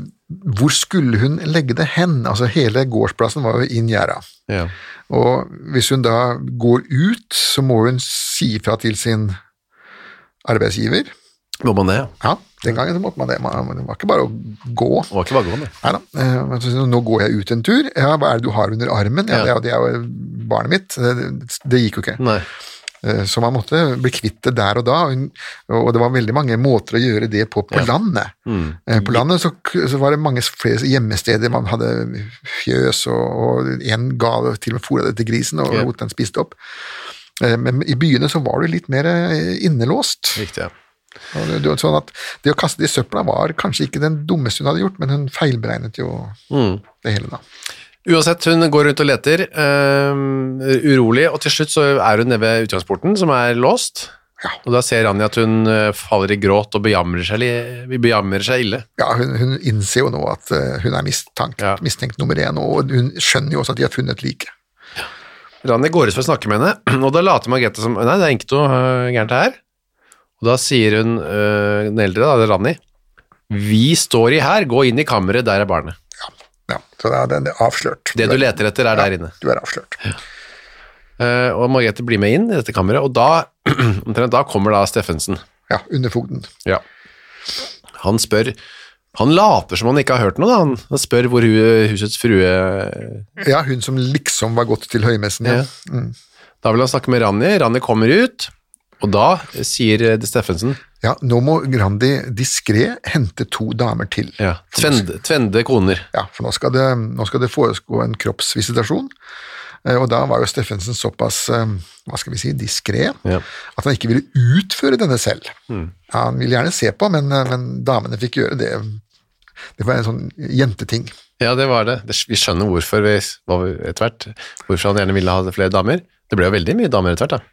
Speaker 3: hvor skulle hun legge det hen? Altså, hele gårdsplassen var jo inngjerda.
Speaker 2: Ja.
Speaker 3: Og hvis hun da går ut, så må hun si fra til sin arbeidsgiver.
Speaker 2: Må man det, ja.
Speaker 3: Ja, den gangen så måtte man det. Man, det var ikke bare å gå.
Speaker 2: Det var ikke bare gående.
Speaker 3: Neida, eh, men så sier hun, Nå går jeg ut en tur. Ja, hva er det du har under armen? Ja, det er, jo- det er jo barnet mitt. Det, det gikk jo ikke.
Speaker 2: Nei.
Speaker 3: Eh, Så man måtte bli kvitt det der og da, og hun- og det var veldig mange måter å gjøre det på på landet.
Speaker 2: Mm.
Speaker 3: Eh, På landet så, k- så var det mange flere hjemmesteder, man hadde fjøs, og, og en ga til og med fôret det til grisen og
Speaker 2: Ja.
Speaker 3: lot den spise det opp. Eh, Men i byene så var du litt mer eh, innelåst.
Speaker 2: Riktig, ja.
Speaker 3: Og det- det var Sånn at det å kaste det i søpla var kanskje ikke den dummeste hun hadde gjort, men hun feilberegnet jo
Speaker 2: Mm.
Speaker 3: det hele da.
Speaker 2: Uansett, hun går rundt og leter, øhm, urolig, og til slutt så er hun nede ved utgangsporten, som er låst.
Speaker 3: Ja.
Speaker 2: Og da ser Rani at hun øh, faller i gråt og bejamrer seg, li- bejamrer seg ille.
Speaker 3: Ja, hun, hun innser jo nå at eh, hun er mistenkt,
Speaker 2: Ja.
Speaker 3: mistenkt nummer én, og hun skjønner jo også at de har funnet liket.
Speaker 2: Rani går ut for å snakke med henne, og da later Margrethe som Nei, det er ikke noe øh, gærent her. Og da sier hun, øh, den eldre, da, det er Rani, vi står i her, gå inn i kammeret, der er barnet.
Speaker 3: Ja, så da er den avslørt.
Speaker 2: Det du leter etter, er der inne.
Speaker 3: Du er avslørt.
Speaker 2: Eh, og Margrethe blir med inn i dette kammeret, og da, omtrent da kommer da Steffensen.
Speaker 3: Ja, underfogden.
Speaker 2: Ja. Han spør Han later som han ikke har hørt noe, da. Han, han spør hvor hu- husets frue
Speaker 3: Ja, hun som liksom var gått til høymessen. Ja. Mm.
Speaker 2: Ja. Da vil han snakke med Ranni. Ranni kommer ut, og da sier eh, det Steffensen
Speaker 3: ja, nå må Grandi diskré hente to damer til.
Speaker 2: ja. tvende, tvende koner.
Speaker 3: Ja, for nå skal det, nå skal det foregå en kroppsvisitasjon. Eh, Og da var jo Steffensen såpass eh, hva skal vi si, diskré
Speaker 2: Ja. Mm.
Speaker 3: at han ikke ville utføre denne selv. Ja, han ville gjerne se på, men, eh, men damene fikk gjøre det. Det var en sånn jenteting.
Speaker 2: Ja, det var det. det vi skjønner hvorfor vi, hva vi- etter hvert, hvorfor han gjerne ville ha flere damer. Det ble jo veldig mye damer etter hvert, da.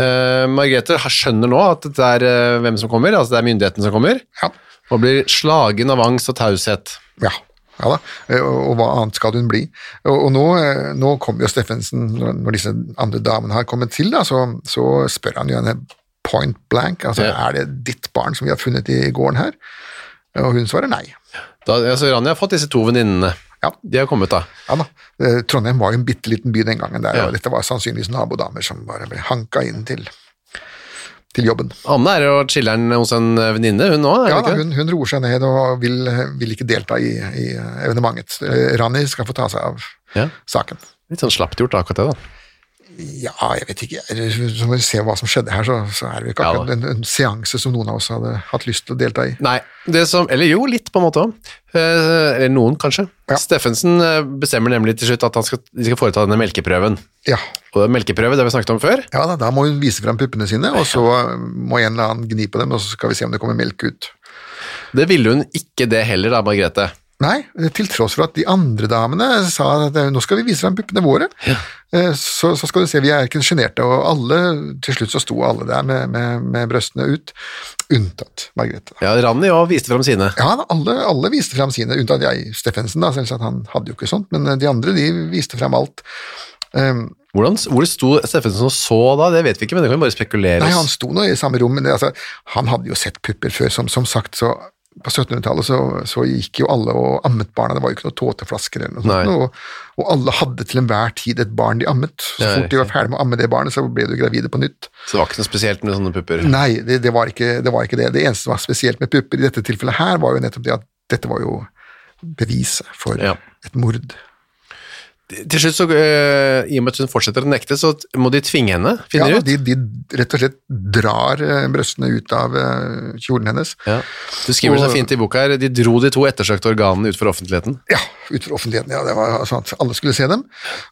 Speaker 2: Eh, Margrethe skjønner nå at det er eh, hvem som kommer, altså det er myndigheten som kommer,
Speaker 3: Ja.
Speaker 2: og blir slagen av angst og taushet.
Speaker 3: ja. Ja da, eh, og, og hva annet skal hun bli? Og, og nå, eh, nå kommer jo Steffensen, når når disse andre damene har kommet til, da, så, så spør han jo henne point blank, altså
Speaker 2: Ja.
Speaker 3: er det ditt barn som vi har funnet i gården her? Og hun svarer nei.
Speaker 2: Da, altså, Rania har fått disse to venninnene.
Speaker 3: Ja.
Speaker 2: De har kommet, da.
Speaker 3: Ja da, eh, Trondheim var jo en bitte liten by den gangen der,
Speaker 2: Ja.
Speaker 3: og dette var sannsynligvis nabodamer som bare ble hanka inn til, til jobben.
Speaker 2: Anne er jo chiller'n hos en eh, venninne, hun òg?
Speaker 3: Ja, da, hun, hun roer seg ned og vil, vil ikke delta i, i evenementet. Eh, Rani skal få ta seg av
Speaker 2: Ja.
Speaker 3: saken.
Speaker 2: Litt sånn slapt gjort, da, akkurat det. da.
Speaker 3: Ja, jeg vet ikke. Når vi ser hva som skjedde her, så, så er det jo ikke
Speaker 2: Ja da.
Speaker 3: akkurat en, en seanse som noen av oss hadde hatt lyst til å delta i.
Speaker 2: Nei, det som Eller jo, litt, på en måte òg. Eller noen, kanskje.
Speaker 3: Ja.
Speaker 2: Steffensen eh, bestemmer nemlig til slutt at han skal, de skal foreta denne melkeprøven.
Speaker 3: Ja,
Speaker 2: Og det er melkeprøve, det har vi snakket om før.
Speaker 3: ja da, da må hun vise fram puppene sine, og så eh, må en eller annen gni på dem, og så skal vi se om det kommer melk ut.
Speaker 2: Det ville hun ikke det heller, da, Margrethe.
Speaker 3: Nei, til tross for at de andre damene sa at eh, nå skal vi vise fram puppene våre, Eh, så, så skal du se, vi er ikke sjenerte, og alle, til slutt så sto alle der med, med, med brøstene ut, unntatt Margrethe.
Speaker 2: Ja, Ranni òg viste fram sine.
Speaker 3: Ja, da, alle, alle viste fram sine, unntatt jeg, Steffensen, da, selvsagt, han hadde jo ikke sånt, men eh, de andre de viste fram alt. Um,
Speaker 2: Hvordan, hvor sto Steffensen og så da? Det vet vi ikke, men det kan vi bare spekulere
Speaker 3: Nei, han
Speaker 2: oss.
Speaker 3: sto nå i samme rom, men det, altså, han hadde jo sett pupper før, som, som sagt, så på 1700-tallet så, så gikk jo alle og ammet barna, det var jo ikke noen tåteflasker eller noe
Speaker 2: Nei.
Speaker 3: sånt, og, og alle hadde til enhver tid et barn de ammet. Så
Speaker 2: Ja,
Speaker 3: fort de var ferdig med å amme det barnet, så ble de gravide på nytt.
Speaker 2: Så det var ikke noe spesielt med sånne pupper.
Speaker 3: Nei, det, det, var ikke, det var ikke det. Det eneste som var spesielt med pupper i dette tilfellet her, var jo nettopp det at dette var jo beviset for
Speaker 2: Ja.
Speaker 3: et mord.
Speaker 2: Til slutt, så, eh, i og med at hun fortsetter å nekte, så må de tvinge henne,
Speaker 3: Ja,
Speaker 2: finner de ut.
Speaker 3: de, de rett og slett drar eh, brøstene ut av eh, kjolen hennes.
Speaker 2: Ja. Du skriver det
Speaker 3: Og-
Speaker 2: så fint i boka her, de dro de to ettersøkte organene ut for offentligheten.
Speaker 3: Ja, ut fra offentligheten. Ja, det var sånn at alle skulle se dem.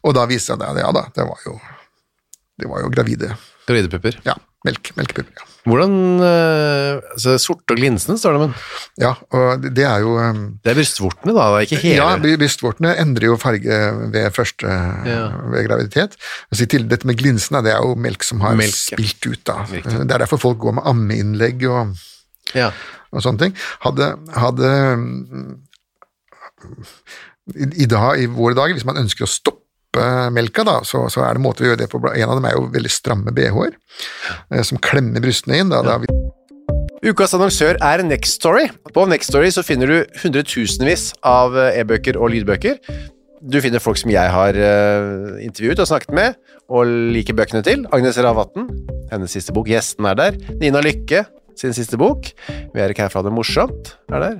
Speaker 3: Og da viste det seg at ja da, det var jo, det var jo gravide.
Speaker 2: Gravidepupper.
Speaker 3: Ja, melk, melkepupper. Ja.
Speaker 2: Hvordan eh, altså, Sorte og glinsende, står det, men
Speaker 3: ja, og det- det er jo um,
Speaker 2: det er brystvortene, da. Det er ikke hele.
Speaker 3: ja, bry- brystvortene endrer jo farge ved første ved graviditet. Altså, i tillegg, dette med glinsene, det er jo melk som har
Speaker 2: Melk, ja.
Speaker 3: spilt ut. da. Det er derfor folk går med ammeinnlegg og,
Speaker 2: Ja.
Speaker 3: og sånne ting. Hadde, hadde um, i, i, dag, I våre dager, hvis man ønsker å stoppe melka, da, så, så er det måter å gjøre det på. En av dem er jo veldig stramme bh-er, eh, som klemmer brystene inn. Da, da,
Speaker 2: Ukas annonsør er Next Story. På Next Story så finner du hundretusenvis av eh, e-bøker og lydbøker. Du finner folk som jeg har eh, intervjuet og snakket med, og liker bøkene til. Agnes Ravatn, hennes siste bok. Gjesten er der. Nina Lykke, sin siste bok. Vi er ikke her for å ha det morsomt, er der.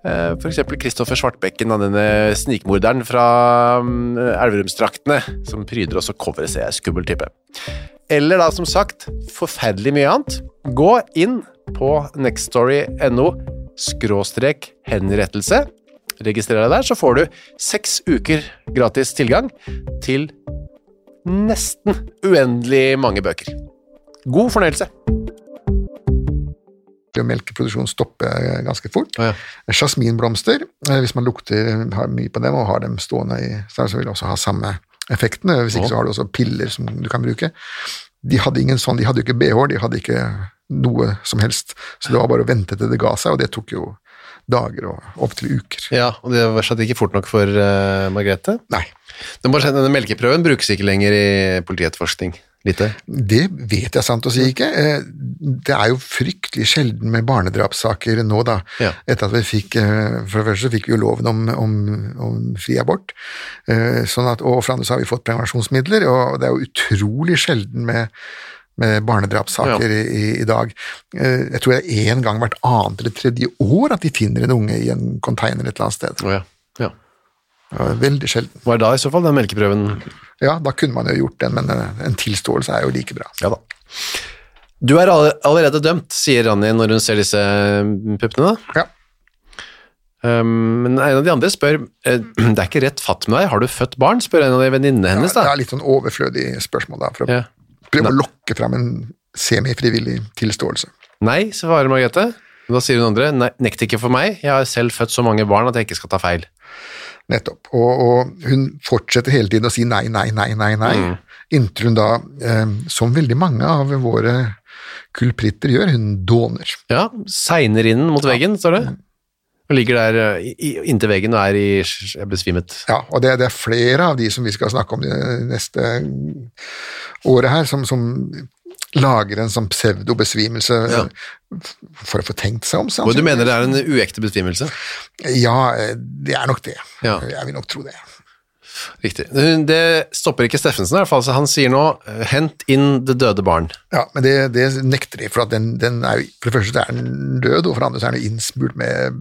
Speaker 2: Eh, For eksempel Kristoffer Svartbekken, da, denne snikmorderen fra mm, Elverumsdraktene, som pryder oss å covere seg, skummel type. Eller da, som sagt, forferdelig mye annet. Gå inn på nextstory.no skråstrek henrettelse. Registrer deg der, så får du seks uker gratis tilgang til nesten uendelig mange bøker. God fornøyelse.
Speaker 3: vil jo melkeproduksjonen stoppe eh, ganske fort. Jasminblomster, eh, hvis man lukter har mye på dem og har dem stående i så så vil det også ha samme effektene. Hvis ikke så har du også piller som du kan bruke. De hadde ingen sånn, de hadde jo ikke bh, de hadde ikke noe som helst. Så det var bare å vente til det ga seg, og det tok jo dager og opptil uker.
Speaker 2: Ja, og det var slett ikke fort nok for eh, Margrethe.
Speaker 3: Nei,
Speaker 2: Den, bare- denne melkeprøven brukes ikke lenger i politietterforskning. Lite.
Speaker 3: det vet jeg sant å si ikke. Eh, Det er jo fryktelig sjelden med barnedrapssaker nå, da.
Speaker 2: Ja.
Speaker 3: Etter at vi fikk eh, For det første så fikk vi jo loven om, om, om fri abort, eh, sånn at, og for andre så har vi fått prevensjonsmidler, og det er jo utrolig sjelden med med barnedrapssaker i, i- i dag. Eh, Jeg tror det er én gang hvert annet eller tredje år at de finner en unge i en container et eller annet sted.
Speaker 2: Å ja. ja.
Speaker 3: Ja, Veldig sjelden.
Speaker 2: Var det da i så fall den melkeprøven?
Speaker 3: Ja, da kunne man jo gjort den, men eh, en tilståelse er jo like bra.
Speaker 2: Ja da. Du er alle- allerede dømt, sier Ranni når hun ser disse puppene. da.
Speaker 3: Ja.
Speaker 2: Um, men en av de andre spør eh, Det er ikke rett fatt med deg, har du født barn? spør en av de venninnene hennes.
Speaker 3: Det
Speaker 2: da.
Speaker 3: er litt sånn overflødig spørsmål der, for å
Speaker 2: Ja.
Speaker 3: prøve å lokke fram en semifrivillig tilståelse.
Speaker 2: Nei, svarer Margrethe. Da sier hun andre nei, nekt ikke for meg, jeg har selv født så mange barn at jeg ikke skal ta feil.
Speaker 3: Nettopp. Og, og hun fortsetter hele tiden å si nei, nei, nei, nei, nei.
Speaker 2: Mm.
Speaker 3: Inntil hun da, eh, som veldig mange av våre kulpritter gjør, hun dåner.
Speaker 2: Ja, segner inn mot veggen, står det. Og ligger der eh, i- i- inntil veggen og er i jeg er besvimet.
Speaker 3: Ja, og det, det er flere av de som vi skal snakke om det neste året her, som, som lager en sånn pseudobesvimelse
Speaker 2: Ja.
Speaker 3: for å få tenkt seg om.
Speaker 2: Og du
Speaker 3: sannsynligvis.
Speaker 2: mener det er en uekte besvimelse?
Speaker 3: Ja, eh, det er nok det.
Speaker 2: Ja.
Speaker 3: Jeg vil nok tro det.
Speaker 2: Riktig. Hun- Det stopper ikke Steffensen, i hvert fall. Så han sier nå eh, 'hent inn det døde barn'.
Speaker 3: Ja, Men det, det nekter de, for at den, den er, jo- for det første er den død, og for det andre så er den innsmurt med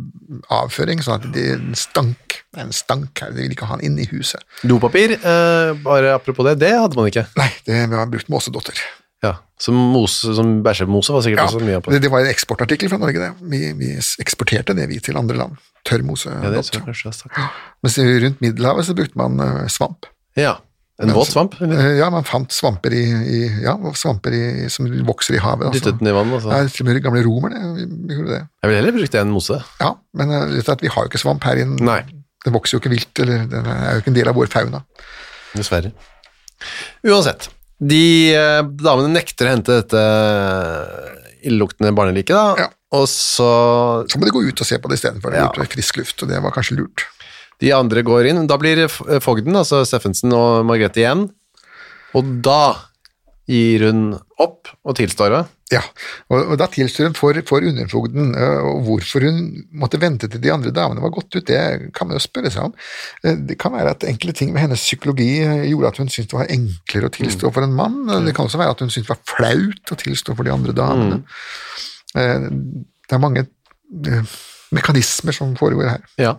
Speaker 3: avføring, sånn at det den stank. Det er en stank her, de vil ikke ha den inn i huset.
Speaker 2: Dopapir, eh, bare apropos det, det hadde man ikke.
Speaker 3: Nei, det var brukt måsedotter.
Speaker 2: Ja, Som, mose, som bæsjemose var sikkert
Speaker 3: Ja,
Speaker 2: også mye av på
Speaker 3: det, det var en eksportartikkel fra Norge, det. Vi, vi eksporterte det, vi, til andre land.
Speaker 2: Ja, det tror
Speaker 3: Tørrmosedotter.
Speaker 2: jeg kanskje jeg har sagt.
Speaker 3: Mens rundt Middelhavet så brukte man eh, svamp.
Speaker 2: Ja. En våt svamp? eller?
Speaker 3: Eh, Ja, man fant svamper, i, i, ja, svamper i, som vokser i havet. altså.
Speaker 2: Dyttet den i vann, altså.
Speaker 3: Ja, til og med de gamle romerne vi gjorde det.
Speaker 2: Jeg ville heller brukt det enn mose.
Speaker 3: Ja, men eh, vet du at vi har jo ikke svamp her inne.
Speaker 2: Nei.
Speaker 3: Den vokser jo ikke vilt, eller den er jo ikke en del av vår fauna.
Speaker 2: Dessverre. Uansett. De eh, damene nekter å hente dette eh, illeluktende barneliket, da.
Speaker 3: Ja.
Speaker 2: Og så
Speaker 3: Så må de gå ut og se på det istedenfor.
Speaker 2: Ja.
Speaker 3: Ja. Frisk luft, og det var kanskje lurt.
Speaker 2: de andre går inn. Da blir f- fogden, altså Steffensen og Margrethe igjen. Og da gir hun opp og tilstår det.
Speaker 3: Ja, og, og da tilstår hun for, for underfogden, øh, og hvorfor hun måtte vente til de andre damene var gått ut, det kan man jo spørre seg om. Eh, Det kan være at enkelte ting med hennes psykologi eh, gjorde at hun syntes det var enklere å
Speaker 2: Mm.
Speaker 3: tilstå for en mann, Eh, det kan også være at hun syntes det var flaut å tilstå for de andre damene.
Speaker 2: Mm.
Speaker 3: Eh, Det er mange eh, mekanismer som foregår her.
Speaker 2: Ja.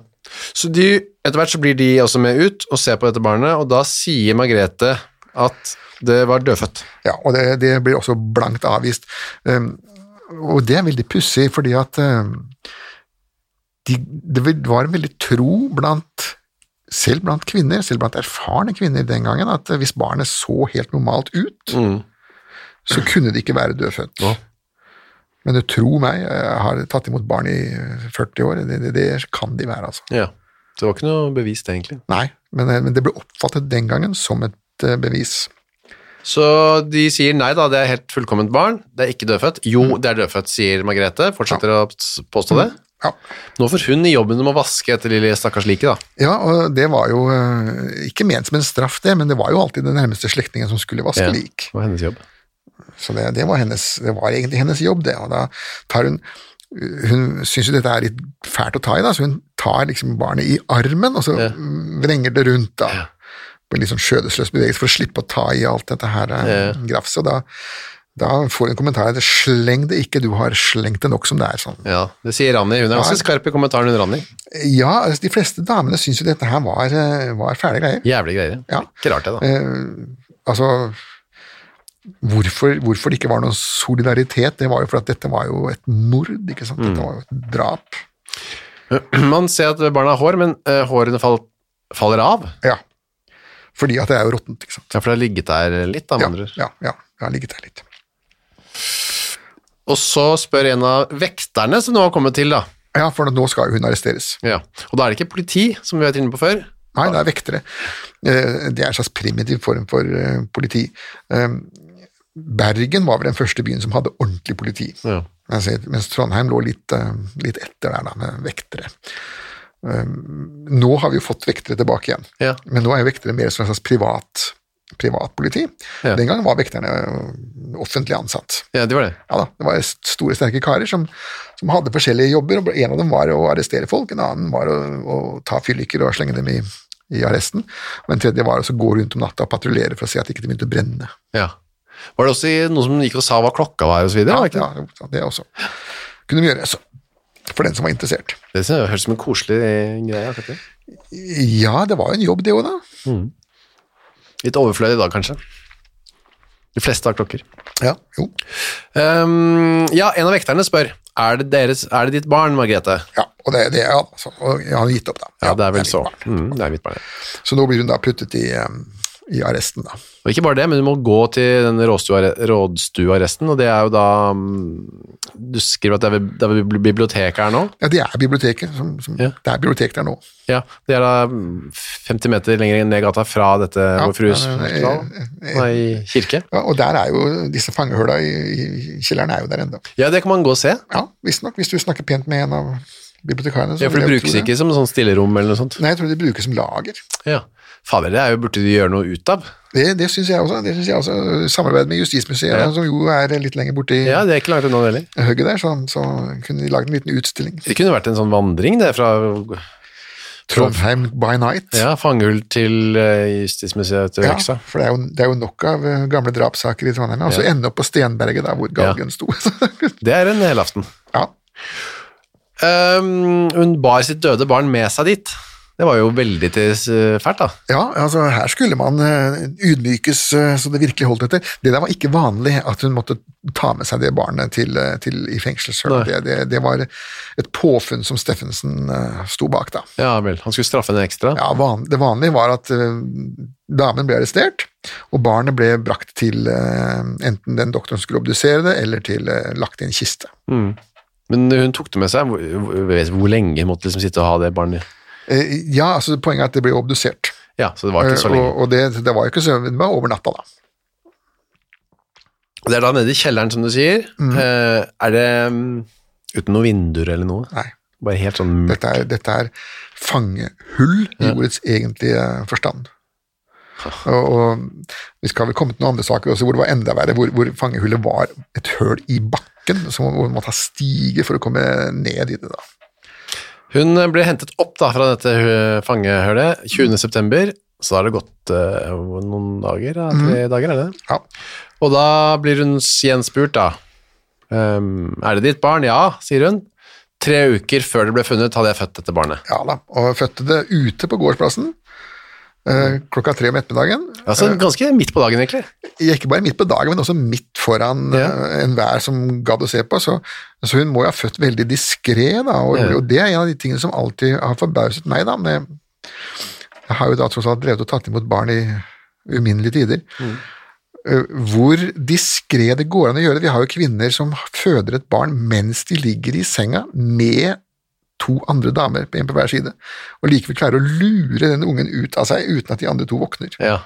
Speaker 2: Så de, etter hvert så blir de også med ut og ser på dette barnet, og da sier Margrethe at det var dødfødt.
Speaker 3: Ja, og det, det blir også blankt avvist. Um, og det er veldig pussig, fordi at um, de, det vil- var en veldig tro blant selv blant kvinner, selv blant erfarne kvinner den gangen, at hvis barnet så helt normalt ut, så kunne det ikke være dødfødt. Men du tro meg, jeg har tatt imot barn i 40 år, det, det, det kan de være, altså.
Speaker 2: Ja. Det var ikke noe bevis, det, egentlig.
Speaker 3: Nei, men, eh, men det ble oppfattet den gangen som et eh, bevis.
Speaker 2: Så de sier nei da, det er helt fullkomment barn, det er ikke dødfødt. Jo, det er dødfødt, sier Margrethe, fortsetter å s- påstå det.
Speaker 3: Ja.
Speaker 2: Nå får hun i jobben om å vaske etter lille stakkars like, da.
Speaker 3: Ja, og det var jo eh, ikke ment som en straff, det, men det var jo alltid den nærmeste slektningen som skulle vaske
Speaker 2: Ja,
Speaker 3: lik.
Speaker 2: Det var hennes jobb.
Speaker 3: Så det, det, var hennes, det var egentlig hennes jobb, det. Og da tar hun Hun syns jo dette er litt fælt å ta i, da, så hun tar liksom barnet i armen, og så
Speaker 2: Ja.
Speaker 3: vrenger det rundt, da. På en litt sånn skjødesløs bevegelse for å slippe å ta i alt dette her eh, grafset. og Da, da får hun kommentaren at 'sleng det ikke, du har slengt det nok som det er'. sånn.
Speaker 2: Ja, det sier Ranni. Hun er ganske skarp i kommentaren, hun Ranni.
Speaker 3: Ja, altså, de fleste damene syns jo dette her var, eh, var fæle greier.
Speaker 2: Jævlig greier.
Speaker 3: Ja.
Speaker 2: Ikke rart det, da.
Speaker 3: Eh, altså hvorfor, hvorfor det ikke var noen solidaritet, det var jo fordi at dette var jo et mord, ikke sant? Dette var jo et drap.
Speaker 2: Man ser at barna har hår, men eh, hårene fall, faller av.
Speaker 3: Ja. Fordi at det er jo råttent, ikke sant.
Speaker 2: Ja, for det har ligget der litt, da, med
Speaker 3: Ja,
Speaker 2: andre ord.
Speaker 3: ja, ja, jeg har ligget der litt.
Speaker 2: Og så spør en av vekterne som nå har kommet til, da.
Speaker 3: Ja, for nå skal jo hun arresteres.
Speaker 2: Ja. Og da er det ikke politi, som vi har vært inne på før.
Speaker 3: Nei, det er vektere. Eh, Det er en slags primitiv form for eh, politi. Eh, Bergen var vel den første byen som hadde ordentlig politi.
Speaker 2: Ja.
Speaker 3: Mens mens Trondheim lå litt, eh, litt etter der, da, med vektere. Eh, Nå har vi jo fått vektere tilbake igjen,
Speaker 2: Ja.
Speaker 3: men nå er jo vektere mer som en slags privat privatpoliti.
Speaker 2: Ja.
Speaker 3: Den gangen var vekterne eh, offentlig ansatt.
Speaker 2: ja, det var det.
Speaker 3: Ja da, Det var store, sterke karer som, som hadde forskjellige jobber. og En av dem var å arrestere folk, en annen var å, å ta fylliker og slenge dem i, i arresten. Og en tredje var å så gå rundt om natta og patruljere for å se at ikke de begynte å brenne.
Speaker 2: Ja. Var det også i- noen som gikk og sa hva klokka var, og så videre?
Speaker 3: Ja,
Speaker 2: var det ikke det?
Speaker 3: ja, jo, det også. Kunne vi gjøre, så. For den som var interessert.
Speaker 2: Det synes jeg høres ut som en koselig greie. akkurat det.
Speaker 3: Ja, det var jo en jobb, det òg, da.
Speaker 2: Litt overflødig i dag, kanskje. De fleste har klokker.
Speaker 3: Ja, jo.
Speaker 2: Ehm, ja, en av vekterne spør er det, deres, er det ditt barn, Margrethe?
Speaker 3: Ja, og det, det ja, altså, og jeg har gitt opp, da.
Speaker 2: Ja, det er vel så.
Speaker 3: mitt barn.
Speaker 2: Mm, det er mitt barn, ja.
Speaker 3: Så nå blir hun da puttet i, eh, i arresten, da.
Speaker 2: Og ikke bare det, men du må gå til den råstua- rådstuearresten, og det er jo da mm, Du skriver at det er, ved- det er ved biblioteket her nå?
Speaker 3: Ja, det er biblioteket. Som, som,
Speaker 2: Ja.
Speaker 3: Det er bibliotek der nå.
Speaker 2: Ja, det er da mm, 50 meter lenger ned gata fra dette Vår Frues
Speaker 3: ja, ja, ja,
Speaker 2: hospital. Nei, kirke.
Speaker 3: Ja, og der er jo disse fangehulla i, i kjelleren er jo der ennå.
Speaker 2: Ja, det kan man gå og se.
Speaker 3: Ja, visstnok. Hvis du snakker pent med en av bibliotekarene. så
Speaker 2: Ja, for det
Speaker 3: vil jeg jo
Speaker 2: brukes
Speaker 3: tro
Speaker 2: ikke som sånn stillerom eller noe sånt.
Speaker 3: Nei, jeg tror det brukes som lager.
Speaker 2: Ja. Fader, det er jo burde de gjøre noe ut av.
Speaker 3: Det, det syns jeg også. det synes jeg også. Samarbeid med Justismuseet,
Speaker 2: Ja.
Speaker 3: som jo er litt lenger borti i
Speaker 2: Ja, det er ikke langt unna det heller.
Speaker 3: hugget der, så, så kunne de lagd en liten utstilling.
Speaker 2: Det kunne vært en sånn vandring, det, fra
Speaker 3: Trondheim by night.
Speaker 2: ja, fangehull til eh, Justismuseet til
Speaker 3: Ja,
Speaker 2: Øksa.
Speaker 3: for det er, jo, det er jo nok av eh, gamle drapssaker i Trondheim. Og så ende opp på Stenberget, da, hvor galgen sto.
Speaker 2: Det er en helaften.
Speaker 3: ja.
Speaker 2: Ehm, hun bar sitt døde barn med seg dit. Det var jo veldig til eh, fælt, da.
Speaker 3: ja, altså her skulle man eh, ydmykes eh, så det virkelig holdt etter. Det der var ikke vanlig at hun måtte ta med seg det barnet til, eh, til, i fengsel selv. Det, det, det var et påfunn som Steffensen eh, sto bak, da.
Speaker 2: Ja vel, han skulle straffe henne ekstra.
Speaker 3: Ja, van, Det vanlige var at eh, damen ble arrestert, og barnet ble brakt til eh, enten den doktoren som skulle obdusere det, eller til eh, lagt i en kiste.
Speaker 2: Men hun tok det med seg. Hvor, hvor, hvor lenge måtte liksom sitte og ha det barnet?
Speaker 3: Eh, ja, altså Poenget er at det ble obdusert,
Speaker 2: Ja, så det var ikke så
Speaker 3: Eh,
Speaker 2: lenge.
Speaker 3: og, og det, det var jo ikke så det var over natta, da.
Speaker 2: Det er da nede i kjelleren, som du sier. Eh, er det mm, uten noen vinduer eller noe?
Speaker 3: Nei.
Speaker 2: Bare helt sånn mørkt.
Speaker 3: Dette er, dette er fangehull i ordets egentlige forstand. Og, og Vi skal vel komme til noen andre saker også hvor det var enda verre, hvor, hvor fangehullet var et høl i bakken, så hvor man måtte ha stige for å komme ned i det. da.
Speaker 2: Hun eh, ble hentet opp da fra dette eh, fangehølet 20. september, så da har det gått eh, noen dager, da, tre dager er det?
Speaker 3: Ja.
Speaker 2: Og da blir hun s- gjenspurt da. Ehm, er det ditt barn? Ja, sier hun. Tre uker før det ble funnet hadde jeg født dette barnet.
Speaker 3: Ja da, og fødte det ute på gårdsplassen eh, klokka tre om ettermiddagen.
Speaker 2: Altså ganske midt på dagen egentlig.
Speaker 3: Eh, Ikke bare midt på dagen, men også midt foran
Speaker 2: Ja.
Speaker 3: eh, enhver som gadd å se på. Så, så hun må jo ha født veldig diskré, da. Og,
Speaker 2: Ja.
Speaker 3: og det er en av de tingene som alltid har forbauset meg, da. Med, jeg har jo da tross alt drevet og tatt imot barn i uminnelige tider.
Speaker 2: Mm.
Speaker 3: Eh, Hvor diskré det går an å gjøre det. Vi har jo kvinner som føder et barn mens de ligger i senga med to andre damer, en på hver side, og likevel klarer å lure den ungen ut av seg uten at de andre to våkner
Speaker 2: Ja.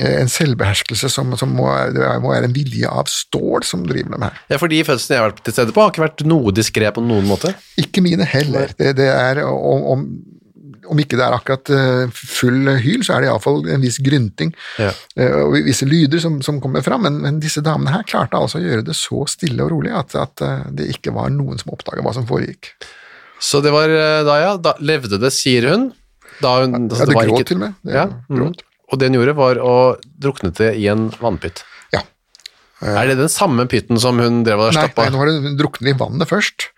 Speaker 3: eh, en selvbeherskelse som, som må, det er- må være en vilje av stål som driver dem her.
Speaker 2: ja, for de fødselsene jeg har vært til stede på har ikke vært noe diskret på noen måte.
Speaker 3: Ikke mine heller. Det, det er, om, om, om ikke det er akkurat eh, full hyl, så er det iallfall en viss grynting
Speaker 2: Ja.
Speaker 3: eh, og visse lyder som, som kommer fram, men, men disse damene her klarte altså å gjøre det så stille og rolig at, at eh, det ikke var noen som oppdaga hva som foregikk.
Speaker 2: Så det var eh, da, ja, da levde det, sier hun. Da hun altså,
Speaker 3: Ja, det
Speaker 2: var
Speaker 3: gråt
Speaker 2: ikke-
Speaker 3: til og med. Det
Speaker 2: Ja,
Speaker 3: gråt.
Speaker 2: mm. Og det hun gjorde var å drukne det i en vannpytt.
Speaker 3: Ja.
Speaker 2: Er det den samme pytten som hun drev og
Speaker 3: Nei,
Speaker 2: stappa?
Speaker 3: nei, nå var det, hun drukner i vannet først,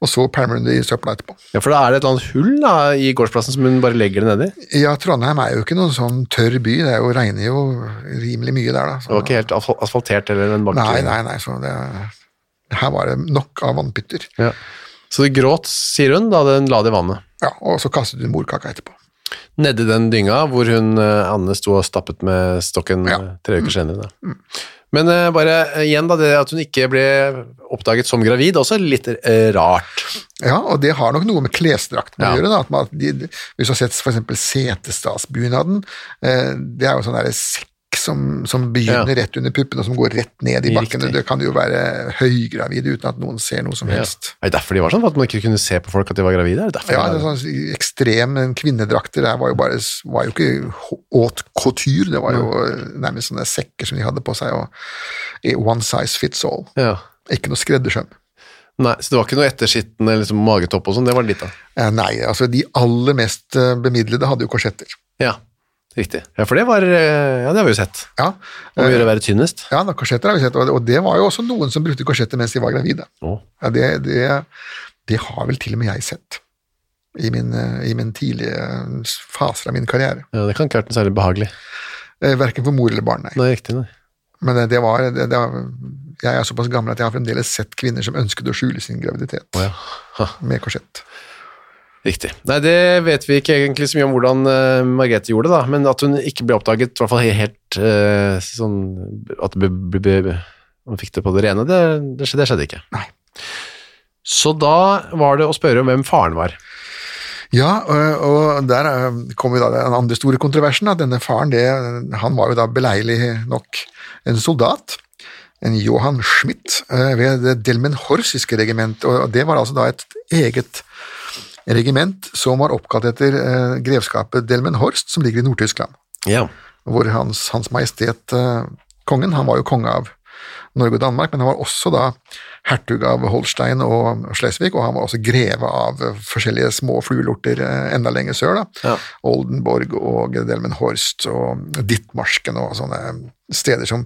Speaker 3: og så pælmer hun det i søpla etterpå.
Speaker 2: Ja, for da er det et eller annet hull da, i gårdsplassen som hun bare legger det nedi.
Speaker 3: Ja, Trondheim er jo ikke noen sånn tørr by, det er jo, regner jo rimelig mye der, da.
Speaker 2: Det var ikke helt asf- asfaltert eller en bakke.
Speaker 3: Nei, nei, nei, så det Her var det nok av vannpytter.
Speaker 2: Ja. Så det gråt, sier hun, da den la det i vannet.
Speaker 3: Ja, og så kastet hun morkaka etterpå.
Speaker 2: Nedi den dynga hvor hun, eh, Anne sto og stappet med stokken eh, tre
Speaker 3: Mm.
Speaker 2: uker senere. Da. Men eh, bare eh, igjen da, det at hun ikke ble oppdaget som gravid, også litt eh, rart.
Speaker 3: Ja, og det har nok noe med klesdrakten
Speaker 2: Ja.
Speaker 3: å gjøre, da. At man, de, hvis du har sett for eksempel Setesdalsbunaden, eh, det er jo sånn derre sekk som, som begynner
Speaker 2: Ja.
Speaker 3: rett under puppene og som går rett ned i bakken.
Speaker 2: Riktig.
Speaker 3: Det kan jo være høygravid uten at noen ser noe som helst.
Speaker 2: Er det derfor de var sånn? For at man ikke kunne se på folk at de var gravide? Er det derfor
Speaker 3: Ja,
Speaker 2: de
Speaker 3: det
Speaker 2: var
Speaker 3: er sånn ekstrem kvinnedrakter der var jo bare var jo ikke h- haute couture, det var jo eh, nærmest sånne sekker som de hadde på seg, og i one size fits all.
Speaker 2: ja.
Speaker 3: Ikke noe skreddersøm.
Speaker 2: Nei, så det var ikke noe ettersittende liksom, magetopp og sånn, det var det litt av.
Speaker 3: Eh, Nei, altså de aller mest eh, bemidlede hadde jo korsetter.
Speaker 2: Ja, riktig. Ja, for det var, eh, ja, det har vi jo sett.
Speaker 3: Ja,
Speaker 2: Om
Speaker 3: Eh.
Speaker 2: å gjøre å være tynnest.
Speaker 3: ja da, korsetter har vi sett, og og det var jo også noen som brukte korsetter mens de var gravide.
Speaker 2: Å.
Speaker 3: Ja, det, det, det har vel til og med jeg sett. I min, eh, I min tidlige eh, faser av min karriere.
Speaker 2: Ja, det kan ikke ha vært noe særlig behagelig.
Speaker 3: Eh, Verken for mor eller barn, nei.
Speaker 2: Nei, riktig, nei.
Speaker 3: Men eh, det, det var, det, det var Jeg er såpass gammel at jeg har fremdeles sett kvinner som ønsket å skjule sin graviditet med korsett.
Speaker 2: Riktig. Nei, det vet vi ikke egentlig så mye om hvordan eh, Margrethe gjorde det, da, men at hun ikke ble oppdaget, i hvert fall he- helt eh, sånn At det ble- ble- ble- hun fikk det på det rene, det, det, skjedde, det skjedde ikke.
Speaker 3: Nei.
Speaker 2: Så da var det å spørre om hvem faren var.
Speaker 3: Ja, og, og der eh, kom jo da den andre store kontroversen. At denne faren det, han var jo da beleilig nok en soldat. En Johan Schmidt eh, ved det delmenhorsiske regiment. Og det var altså da et eget regiment som var oppkalt etter eh, grevskapet Delmenhorst, som ligger i Nord-Tyskland.
Speaker 2: Ja.
Speaker 3: Hvor hans, hans Majestet eh, Kongen, han var jo konge av Norge og Danmark, men han var også da hertug av Holstein og Slesvig, og han var også greve av eh, forskjellige små fluelorter eh, enda lenger sør. da. Oldenborg og Delmenhorst og Dittmarsken og sånne steder som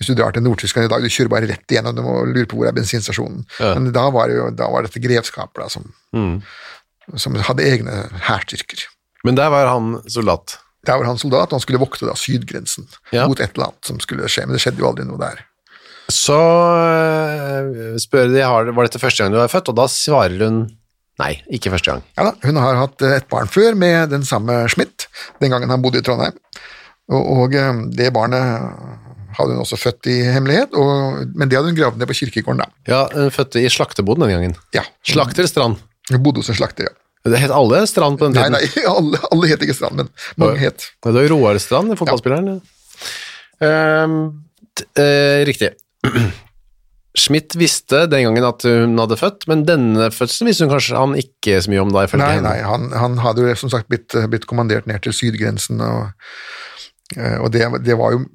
Speaker 3: Hvis du drar til Nord-Tyskland i dag, du kjører bare rett igjennom og lurer på hvor er bensinstasjonen. Men da var det jo da var dette grevskapet da, som, som hadde egne hærstyrker.
Speaker 2: Men der var han soldat.
Speaker 3: Der var han soldat, og han skulle vokte da sydgrensen
Speaker 2: Ja.
Speaker 3: mot et eller annet som skulle skje, men det skjedde jo aldri noe der.
Speaker 2: Så eh, spør de har, var dette første gang du var født, og da svarer hun nei, ikke første gang.
Speaker 3: Ja da, Hun har hatt eh, et barn før med den samme Schmidt, den gangen han bodde i Trondheim. Og, og eh, det barnet hadde hun også født i hemmelighet, og, men det hadde hun gravd ned på kirkegården, da.
Speaker 2: Ja, hun fødte i slakteboden den gangen.
Speaker 3: Ja,
Speaker 2: Slakter Strand.
Speaker 3: Hun bodde hos en slakter, ja.
Speaker 2: Det het alle Strand på den
Speaker 3: Nei,
Speaker 2: tiden.
Speaker 3: nei, alle, alle het ikke Strand, men mange het.
Speaker 2: Ja, Det er jo Roar Strand, fotballspilleren. Ehm, t- eh, riktig. Schmidt visste den gangen at hun hadde født, men denne fødselen visste hun kanskje han ikke så mye om da, ifølge
Speaker 3: Nei,
Speaker 2: henne.
Speaker 3: nei, han, han hadde jo som sagt blitt, blitt kommandert ned til sydgrensen, og, eh, og det, det var jo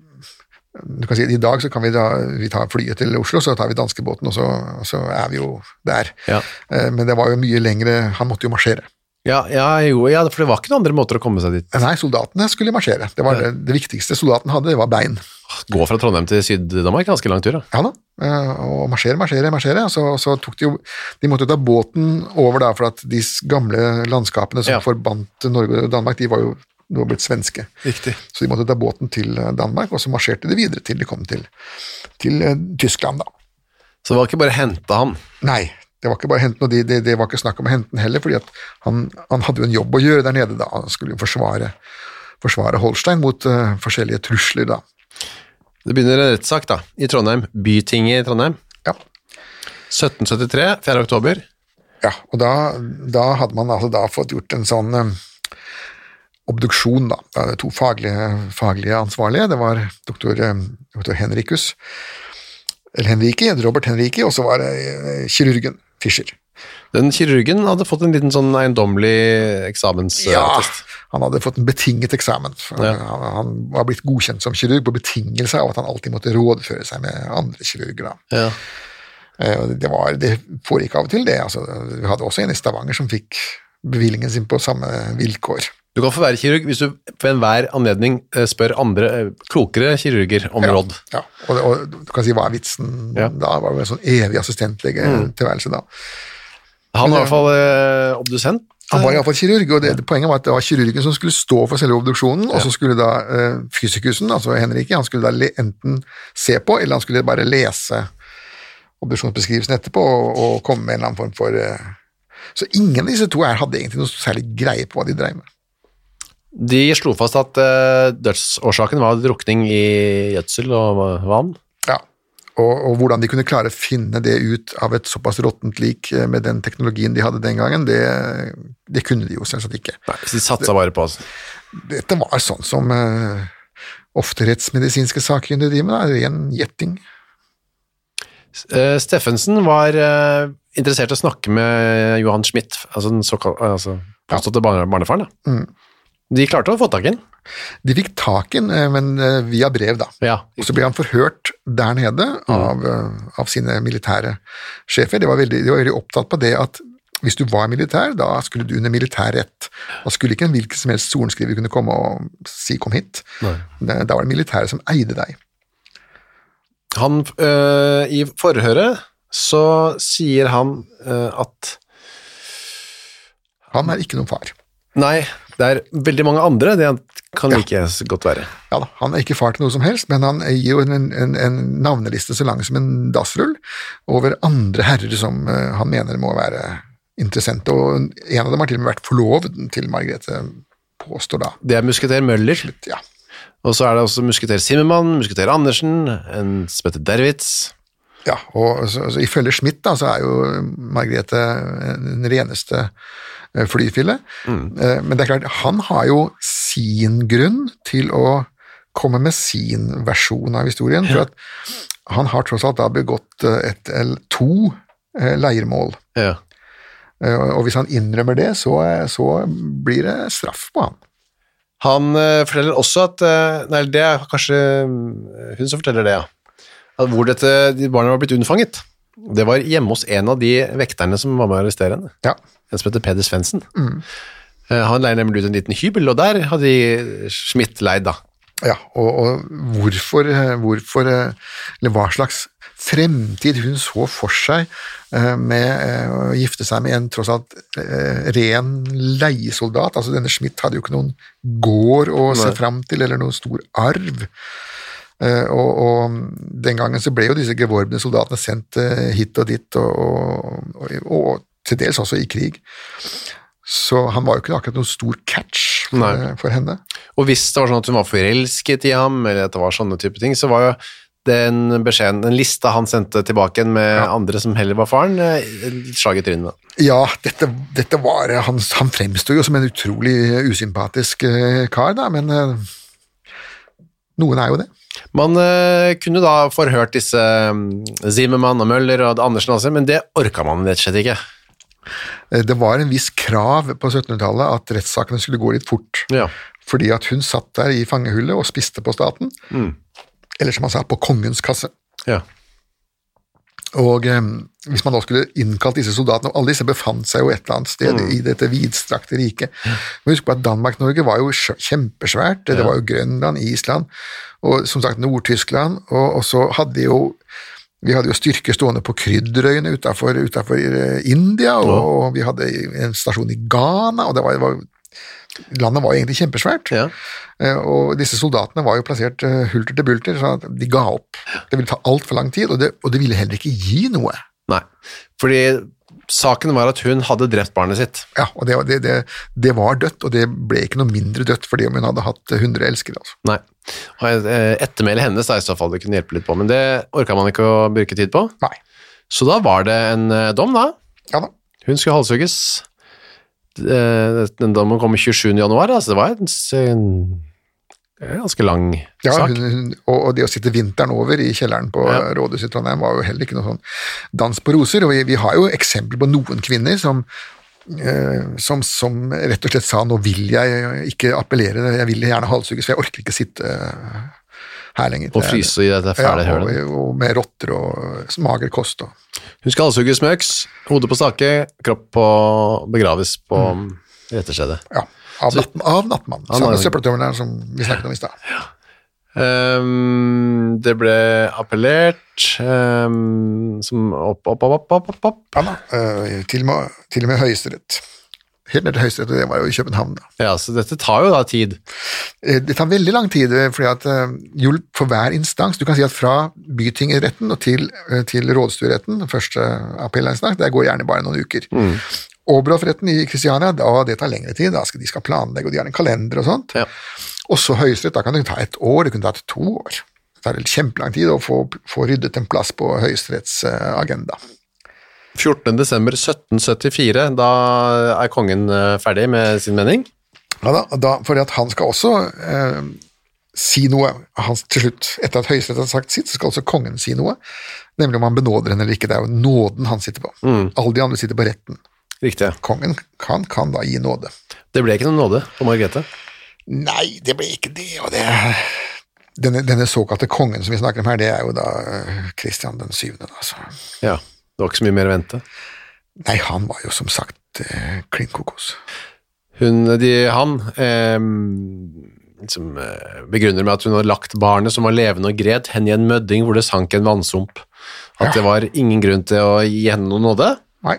Speaker 3: du kan si, I dag så kan vi, da, vi ta flyet til Oslo, så tar vi danskebåten, og så, og så er vi jo der.
Speaker 2: Ja.
Speaker 3: Eh, Men det var jo mye lengre Han måtte jo marsjere.
Speaker 2: Ja, ja, jo, ja, for det var ikke noen andre måter å komme seg dit.
Speaker 3: Nei, soldatene skulle marsjere. Det, var det, det viktigste soldaten hadde, det var bein.
Speaker 2: Gå fra Trondheim til Syd-Danmark, ganske lang tur, da.
Speaker 3: Ja da. eh, Og marsjere, marsjere, marsjere. Så, så tok de jo De måtte jo ta båten over da, for at de s- gamle landskapene som
Speaker 2: Ja.
Speaker 3: forbandt Norge og Danmark, de var jo nå blitt svenske.
Speaker 2: Riktig.
Speaker 3: Så de måtte ta båten til eh, Danmark, og så marsjerte de videre til de kom til, til eh, Tyskland, da.
Speaker 2: Så det var ikke bare hente han.
Speaker 3: Nei, det var ikke bare henten, og det de, det var ikke snakk om å hente den heller, fordi at han, han hadde jo en jobb å gjøre der nede da. Han skulle jo forsvare, forsvare Holstein mot eh, forskjellige trusler, da.
Speaker 2: Det begynner en rettssak, da, i Trondheim. Bytinget i Trondheim.
Speaker 3: Ja.
Speaker 2: 1773, 4. oktober.
Speaker 3: Ja, og da, da hadde man altså da fått gjort en sånn eh, obduksjon, da. Da er det To faglige, faglige ansvarlige. Det var doktor, eh, doktor Henrikus, eller Henriki, Robert Henriki, og så var det eh, kirurgen Fischer.
Speaker 2: Den kirurgen hadde fått en liten sånn eiendommelig eksamensattest.
Speaker 3: Han hadde fått en betinget eksamen. Han, han var blitt godkjent som kirurg på betingelse av at han alltid måtte rådføre seg med andre kirurger. Da.
Speaker 2: Ja.
Speaker 3: Eh, og Det, var, det foregikk av og til, det. Altså, vi hadde også en i Stavanger som fikk bevilgningen sin på samme vilkår.
Speaker 2: Du kan få være kirurg hvis du ved enhver anledning eh, spør andre eh, klokere kirurger om råd.
Speaker 3: Ja, og, det- og du kan si hva er vitsen
Speaker 2: Ja.
Speaker 3: da? Det var vel en sånn evig assistentlegetilværelse da.
Speaker 2: Han var i hvert fall eh, obdusent.
Speaker 3: Han var iallfall kirurg, og det, poenget var at det var kirurgen som skulle stå for selve obduksjonen, og så skulle da eh, fysikusen, altså Henrike, han skulle da le, enten se på, eller han skulle bare lese obduksjonsbeskrivelsen etterpå og, og komme med en eller annen form for eh, Så ingen av disse to her hadde egentlig noe særlig greie på hva de dreiv med.
Speaker 2: De slo fast at eh, dødsårsaken var drukning i gjødsel og vann.
Speaker 3: Ja. Og, og hvordan de kunne klare å finne det ut av et såpass råttent lik eh, med den teknologien de hadde den gangen, det, det kunne de jo selvsagt ikke.
Speaker 2: Så de satsa bare på altså. oss.
Speaker 3: Dette var sånn som eh, ofte rettsmedisinske saker kunne drive med, da, ren gjetting.
Speaker 2: Eh, Steffensen var eh, interessert i å snakke med Johan Schmidt, altså den såkalte altså, påståtte barne- barnefaren. Da. De klarte å få tak i ham.
Speaker 3: De fikk tak i den, eh, men eh, via brev, da.
Speaker 2: Ja.
Speaker 3: Og så ble han forhørt der nede av, eh, av sine militære sjefer. De var, veldig, de var veldig opptatt på det at hvis du var militær, da skulle du under militær rett. Da skulle ikke en hvilken som helst sorenskriver kunne komme og si 'kom hit'. Da da var det militære som eide deg.
Speaker 2: Han, øh, I forhøret så sier han øh, at
Speaker 3: Han er ikke noen far.
Speaker 2: Nei, det er veldig mange andre. Det er Kan like så godt være.
Speaker 3: Ja da, han er ikke far til noe som helst, men han gir jo en, en, en navneliste så lang som en dassrull over andre herrer som eh, han mener må være interessante, og en av dem har til og med vært forlovet til Margrethe, påstår da.
Speaker 2: Det er musketer Møller,
Speaker 3: Ja,
Speaker 2: og så er det også musketer Simmermann, musketer Andersen, en som heter Derwitz.
Speaker 3: ja og så, så ifølge Schmidt da, så er jo Margrethe den reneste eh, flyfille, Eh, men det er klart, han har jo sin grunn til å komme med sin versjon av historien, for at han har tross alt da begått eh, et, eller to eh, leiermål,
Speaker 2: Ja.
Speaker 3: Eh, Og hvis han innrømmer det, så, eh, så blir det straff på han.
Speaker 2: Han eh, forteller også at eh, Nei, det er kanskje eh, hun som forteller det, ja. At hvor dette, de barna var blitt unnfanget. Det var hjemme hos en av de vekterne som var med å arrestere henne.
Speaker 3: Ja.
Speaker 2: En som heter Peder Svendsen. Eh, Han leier nemlig ut en liten hybel, og der hadde de Schmidt leid, da.
Speaker 3: Ja, og, og hvorfor, eh, hvorfor Eller hva slags fremtid hun så for seg eh, med eh, å gifte seg med en tross alt eh, ren leiesoldat. Altså denne Schmidt hadde jo ikke noen gård å se fram til, eller noen stor arv. Eh, Og, og den gangen så ble jo disse gevorbne soldatene sendt eh, hit og dit, og, og, og, og til dels også i krig. Så han var jo ikke akkurat noen stor catch for, eh,
Speaker 2: Nei.
Speaker 3: for henne.
Speaker 2: Og hvis det var sånn at hun var forelsket i ham, eller at det var sånne type ting, så var jo den beskjeden, den lista han sendte tilbake igjen med andre som heller var faren, eh, et slag i trynet. da.
Speaker 3: Ja, dette, dette var eh, Han, han fremsto jo som en utrolig usympatisk eh, kar, da, men eh, noen er jo det.
Speaker 2: Man eh, kunne da forhørt disse eh, Zimmermann og Møller og Andersen også, men det orka man rett og slett ikke.
Speaker 3: Eh, Det var en viss krav på 1700-tallet at rettssakene skulle gå litt fort.
Speaker 2: Ja.
Speaker 3: Fordi at hun satt der i fangehullet og spiste på staten. Eller som han sa, på kongens kasse.
Speaker 2: Ja.
Speaker 3: Og eh, hvis man da skulle innkalt disse soldatene, og alle disse befant seg jo et eller annet sted i dette vidstrakte riket. Men husk på at Danmark-Norge var jo sjø- kjempesvært, det var jo Grønland, Island, og som sagt Nord-Tyskland, og, og så hadde de jo vi hadde jo styrker stående på Krydderøyene utenfor, utenfor eh, India, og, og vi hadde en stasjon i Ghana, og det var, det var, landet var jo egentlig kjempesvært.
Speaker 2: Ja.
Speaker 3: Eh, Og disse soldatene var jo plassert eh, hulter til bulter, så at de ga opp. Det ville ta altfor lang tid, og det, og det ville heller ikke gi noe.
Speaker 2: Nei. Fordi saken var at hun hadde drept barnet sitt.
Speaker 3: Ja, og det, det, det, det var dødt, og det ble ikke noe mindre dødt fordi om hun hadde hatt 100 elskere. Altså.
Speaker 2: Nei. Og eh, ettermælet hennes da, i så fall det kunne hjelpe litt på, men det orka man ikke å bruke tid på.
Speaker 3: Nei.
Speaker 2: Så da var det en eh, dom, da.
Speaker 3: Ja da.
Speaker 2: Hun skulle halshugges. Eh, Den dommen kom 27. januar, altså det var en, s- en en ganske lang
Speaker 3: Ja,
Speaker 2: sak.
Speaker 3: hun, hun, og, og det å sitte vinteren over i kjelleren på
Speaker 2: Ja.
Speaker 3: rådhuset i Trondheim var jo heller ikke noe sånn dans på roser. Og vi, vi har jo eksempler på noen kvinner som, eh, som, som rett og slett sa nå vil jeg ikke appellere, jeg vil gjerne halshugges, for jeg orker ikke sitte eh, her lenger.
Speaker 2: Og
Speaker 3: Det er-
Speaker 2: fryse i dette fæle
Speaker 3: ja,
Speaker 2: hølet.
Speaker 3: og, og med rotter og mager kost. Og.
Speaker 2: Hun skal halshugges med øks, hodet på stake, kropp på begraves på
Speaker 3: Mm.
Speaker 2: retterstedet.
Speaker 3: Ja, av,
Speaker 2: Så-
Speaker 3: natt, av nattmannen.
Speaker 2: Av
Speaker 3: Samme
Speaker 2: nattmannen.
Speaker 3: søppeltømmeren som vi snakket om i stad.
Speaker 2: Ehm, det ble appellert ehm, som opp, opp, opp, opp, opp, opp, opp.
Speaker 3: Ja, da, eh, til, og med, til og med Høyesterett. Helt ned til Høyesterett, og det var jo i København. da.
Speaker 2: Ja, så dette tar jo da tid.
Speaker 3: Eh, Det tar veldig lang tid, eh, fordi at eh, jo for hver instans Du kan si at fra bytingretten og til, eh, til rådstueretten, den første appellinstans, der går gjerne bare noen uker.
Speaker 2: Mm.
Speaker 3: Oberhof-retten i Kristiania, da, det tar lengre tid. da skal De skal planlegge, og de har en kalender og sånt.
Speaker 2: Ja.
Speaker 3: Også Høyesterett, da kan det ta et år, det kunne tatt to år. Det tar kjempelang tid å få, få ryddet en plass på Høyesteretts eh, agenda.
Speaker 2: 14. desember 1774, da er kongen eh, ferdig med sin mening.
Speaker 3: Ja da, og da fordi at han skal også eh, si noe han, til slutt. Etter at Høyesterett har sagt sitt, så skal også kongen si noe. Nemlig om han benåder henne eller ikke. Det er jo nåden han sitter på. Alle de andre sitter på retten.
Speaker 2: Riktig.
Speaker 3: Kongen kan, kan da gi nåde.
Speaker 2: Det ble ikke noen nåde på Margrethe.
Speaker 3: Nei, det ble ikke det, og det denne, denne såkalte kongen som vi snakker om her, det er jo da eh, Kristian den syvende. altså. da, så-
Speaker 2: Ja, det var ikke så mye mer å vente.
Speaker 3: Nei, han var jo som sagt eh, klin kokos.
Speaker 2: Hun, de, han ehm, liksom, eh, begrunner med at hun har lagt barnet som var levende og gret hen i en mødding hvor det sank en vannsump. At det var ingen grunn til å gi henne noen nåde.
Speaker 3: Nei.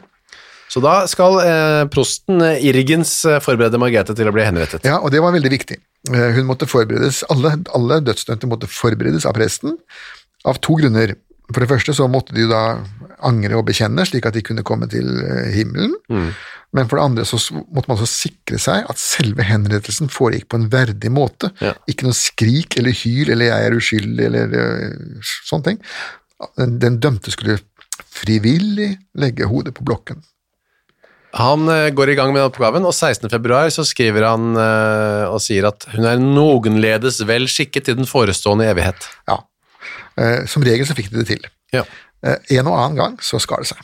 Speaker 2: Så da skal eh, prosten eh, Irgens eh, forberede Margrethe til å bli henrettet.
Speaker 3: Ja, og det var veldig viktig. Eh, Hun måtte forberedes, alle, alle dødsdømte måtte forberedes av presten av to grunner. For det første så måtte de jo da angre og bekjenne, slik at de kunne komme til eh, himmelen. Men for det andre så s- måtte man også sikre seg at selve henrettelsen foregikk på en verdig måte.
Speaker 2: Ja.
Speaker 3: Ikke noe skrik eller hyl eller 'jeg er uskyldig' eller eh, sånne ting. Den, den dømte skulle frivillig legge hodet på blokken.
Speaker 2: Han eh, går i gang med oppgaven, og 16. februar så skriver han eh, og sier at hun er noenledes vel skikket til den forestående evighet.
Speaker 3: Ja. Eh, Som regel så fikk de det til.
Speaker 2: Ja.
Speaker 3: Eh, En og annen gang så skar det seg.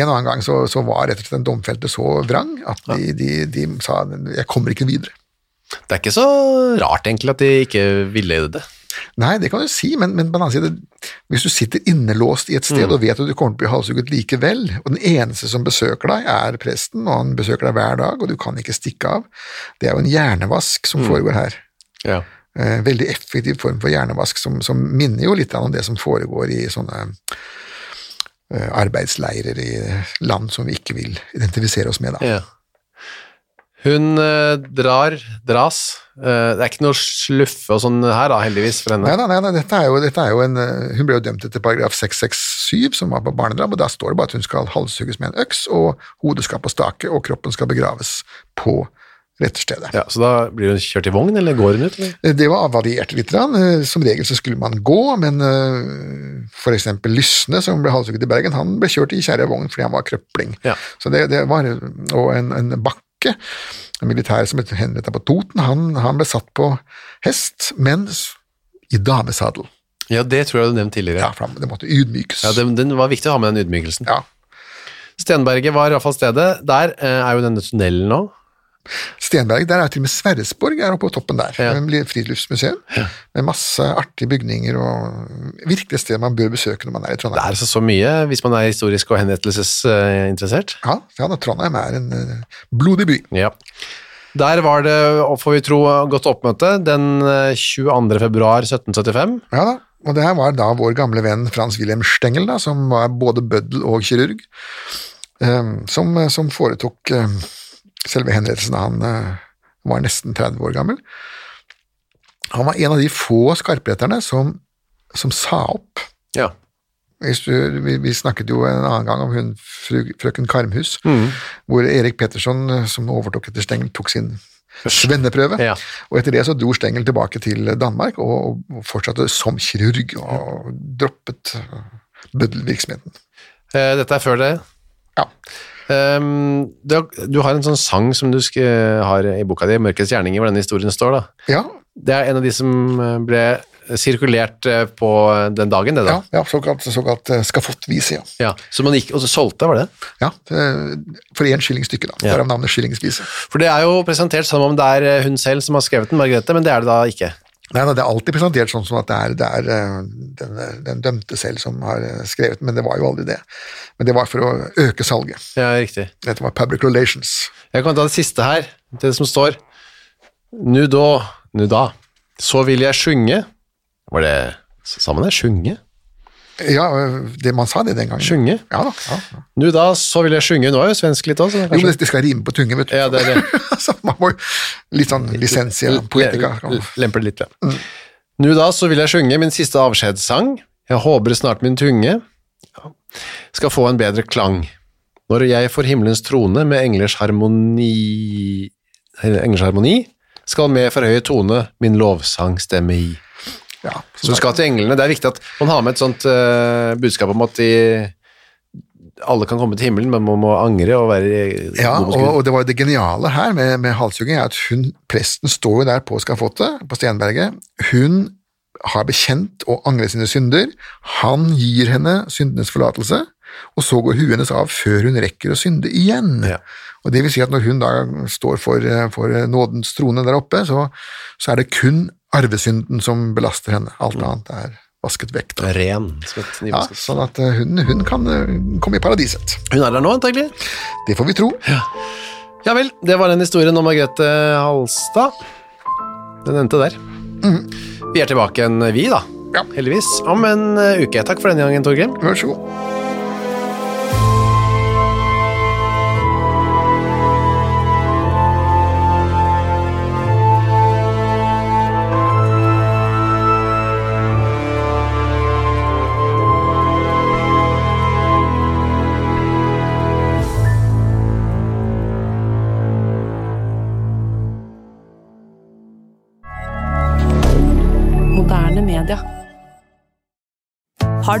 Speaker 3: En og annen gang så, så var rett og slett den domfelte så vrang at de, de, de sa 'jeg kommer ikke videre'.
Speaker 2: Det er ikke så rart egentlig at de ikke ville det.
Speaker 3: Nei, det kan du si, men, men på den annen side, hvis du sitter innelåst i et sted og vet at du kommer til å bli halshugget likevel, og den eneste som besøker deg, er presten, og han besøker deg hver dag, og du kan ikke stikke av, det er jo en hjernevask som foregår her.
Speaker 2: Ja.
Speaker 3: Eh, veldig effektiv form for hjernevask, som, som minner jo litt om det som foregår i sånne eh, arbeidsleirer i land som vi ikke vil identifisere oss med. Da.
Speaker 2: Ja. Hun eh, drar, dras. Eh, det er ikke noe sluffe og sånn her da, heldigvis for henne.
Speaker 3: Nei, nei, nei, nei dette er jo, dette er jo en, eh, hun ble jo dømt etter paragraf 667, som var på barnedrap, og da står det bare at hun skal halshugges med en øks, og hodet skal på stake, og kroppen skal begraves på retterstedet.
Speaker 2: Ja, så da blir hun kjørt i vogn, eller går hun ut? eller?
Speaker 3: Eh, Det var variert litt. grann. Eh, Som regel så skulle man gå, men eh, for eksempel Lysne, som ble halshugget i Bergen, han ble kjørt i kjerrevogn fordi han var krøpling.
Speaker 2: Ja.
Speaker 3: Så det, det var, og en, en bakke, en militær som ble henrettet på Toten, han, han ble satt på hest, men s- i damesadel.
Speaker 2: Ja, det tror jeg du nevnte
Speaker 3: Ja,
Speaker 2: tidligere.
Speaker 3: for han- det måtte ydmykes.
Speaker 2: Ja, den, den var viktig å ha med den ydmykelsen.
Speaker 3: Ja.
Speaker 2: Stenberget var i hvert fall stedet. Der eh, er jo denne tunnelen nå.
Speaker 3: Stenberg, der er til og med Sverresborg er oppe på toppen der.
Speaker 2: Ja.
Speaker 3: Det blir Friluftsmuseum med masse artige bygninger og virkelig et sted man bør besøke når man er i Trondheim.
Speaker 2: Det er altså så mye hvis man er historisk og henrettelsesinteressert.
Speaker 3: Ja, ja da, Trondheim er en eh, blodig by.
Speaker 2: Ja. Der var det, og får vi tro, godt oppmøte den eh, 22. februar 1775.
Speaker 3: Ja da, og det her var da vår gamle venn Frans Wilhelm Stengel, da, som var både bøddel og kirurg, eh, som, som foretok eh, selve henrettelsen. Han eh, var nesten 30 år gammel. Han var en av de få skarpretterne som, som sa opp.
Speaker 2: Ja.
Speaker 3: Hvis du, vi, vi snakket jo en annen gang om hun fru, frøken Karmhus, hvor Erik Petterson, eh, som overtok etter Stengel, tok sin svenneprøve.
Speaker 2: Ja.
Speaker 3: Og etter det så dro Stengel tilbake til Danmark og, og fortsatte som kirurg og droppet eh, bøddelvirksomheten.
Speaker 2: Eh, Dette er før det.
Speaker 3: Ja.
Speaker 2: Ehm, du, har- du har en sånn sang som du sk har i boka di, 'Mørkets gjerninger', hvor denne historien står. da.
Speaker 3: Ja,
Speaker 2: Det er en av de som eh, ble sirkulert eh, på den dagen, det
Speaker 3: ja,
Speaker 2: da.
Speaker 3: ja såkalt, såkalt eh, skafottvise, ja.
Speaker 2: Ja. Så man gikk og så solgte, var det?
Speaker 3: ja. eh, For én skilling stykket, da.
Speaker 2: Ja.
Speaker 3: Derav navnet skillingsvise.
Speaker 2: For det er jo presentert som om det er eh, hun selv som har skrevet den, Margrethe, men det er det da ikke.
Speaker 3: Nei da, det er alltid presentert sånn som at det er, det er eh, den, den dømte selv som har eh, skrevet, men det var jo aldri det. Men det var for å øke salget.
Speaker 2: Ja, riktig.
Speaker 3: Dette var public relations.
Speaker 2: Jeg kan ta det siste her, det som står. Nu da, nu da, så vil jeg synge. Var det sammen det? Sjunge?
Speaker 3: Ja, eh, det man sa det den gangen.
Speaker 2: Sjunge?
Speaker 3: Ja da. Ja. ja.
Speaker 2: Nu da, så vil jeg synge. Nå er jo svensk litt også.
Speaker 3: Jo, men
Speaker 2: kanskje.
Speaker 3: det, det sånn skal rime på tunge, vet du.
Speaker 2: Ja, det er det.
Speaker 3: så man må jo Litt sånn lisensia poetica.
Speaker 2: L- l- Lemper det litt, ja. Nu da, så vil jeg synge min siste avskjedssang. Jeg håper snart min tunge skal få en bedre klang. Når jeg får himmelens trone med englers harmoni, eh, englers harmoni skal med forhøyet tone min lovsang stemme i.
Speaker 3: Ja,
Speaker 2: Så du skal til englene. Det er viktig at man har med et sånt eh, budskap om at de, alle kan komme til himmelen, men man må angre og være
Speaker 3: ja
Speaker 2: god mot
Speaker 3: og,
Speaker 2: Gud.
Speaker 3: og det var jo det geniale her med, med halshugging, er at hun, presten står jo der på skafottet på Stenberget. Hun har bekjent og angret sine synder. Han gir henne syndenes forlatelse, og så går huet hennes av før hun rekker å synde igjen.
Speaker 2: Ja.
Speaker 3: Og det vil si at når hun da står for, eh, for nådens trone der oppe, så, så er det kun arvesynden som belaster henne.
Speaker 2: Mm.
Speaker 3: Alt annet er vasket vekk. Da.
Speaker 2: Ren. som et
Speaker 3: Ja,
Speaker 2: nivåskritt.
Speaker 3: sånn at eh, hun, hun kan eh, komme i paradiset.
Speaker 2: Hun er der nå, antagelig.
Speaker 3: Det får vi tro.
Speaker 2: Ja vel, det var den historien om Margrethe Halstad. Den endte der. Vi er tilbake igjen, vi da.
Speaker 3: Mhm. Ja.
Speaker 2: Heldigvis. Om en eh, uke. Takk for denne gangen, Torgrim.
Speaker 3: Vær så god.
Speaker 4: Har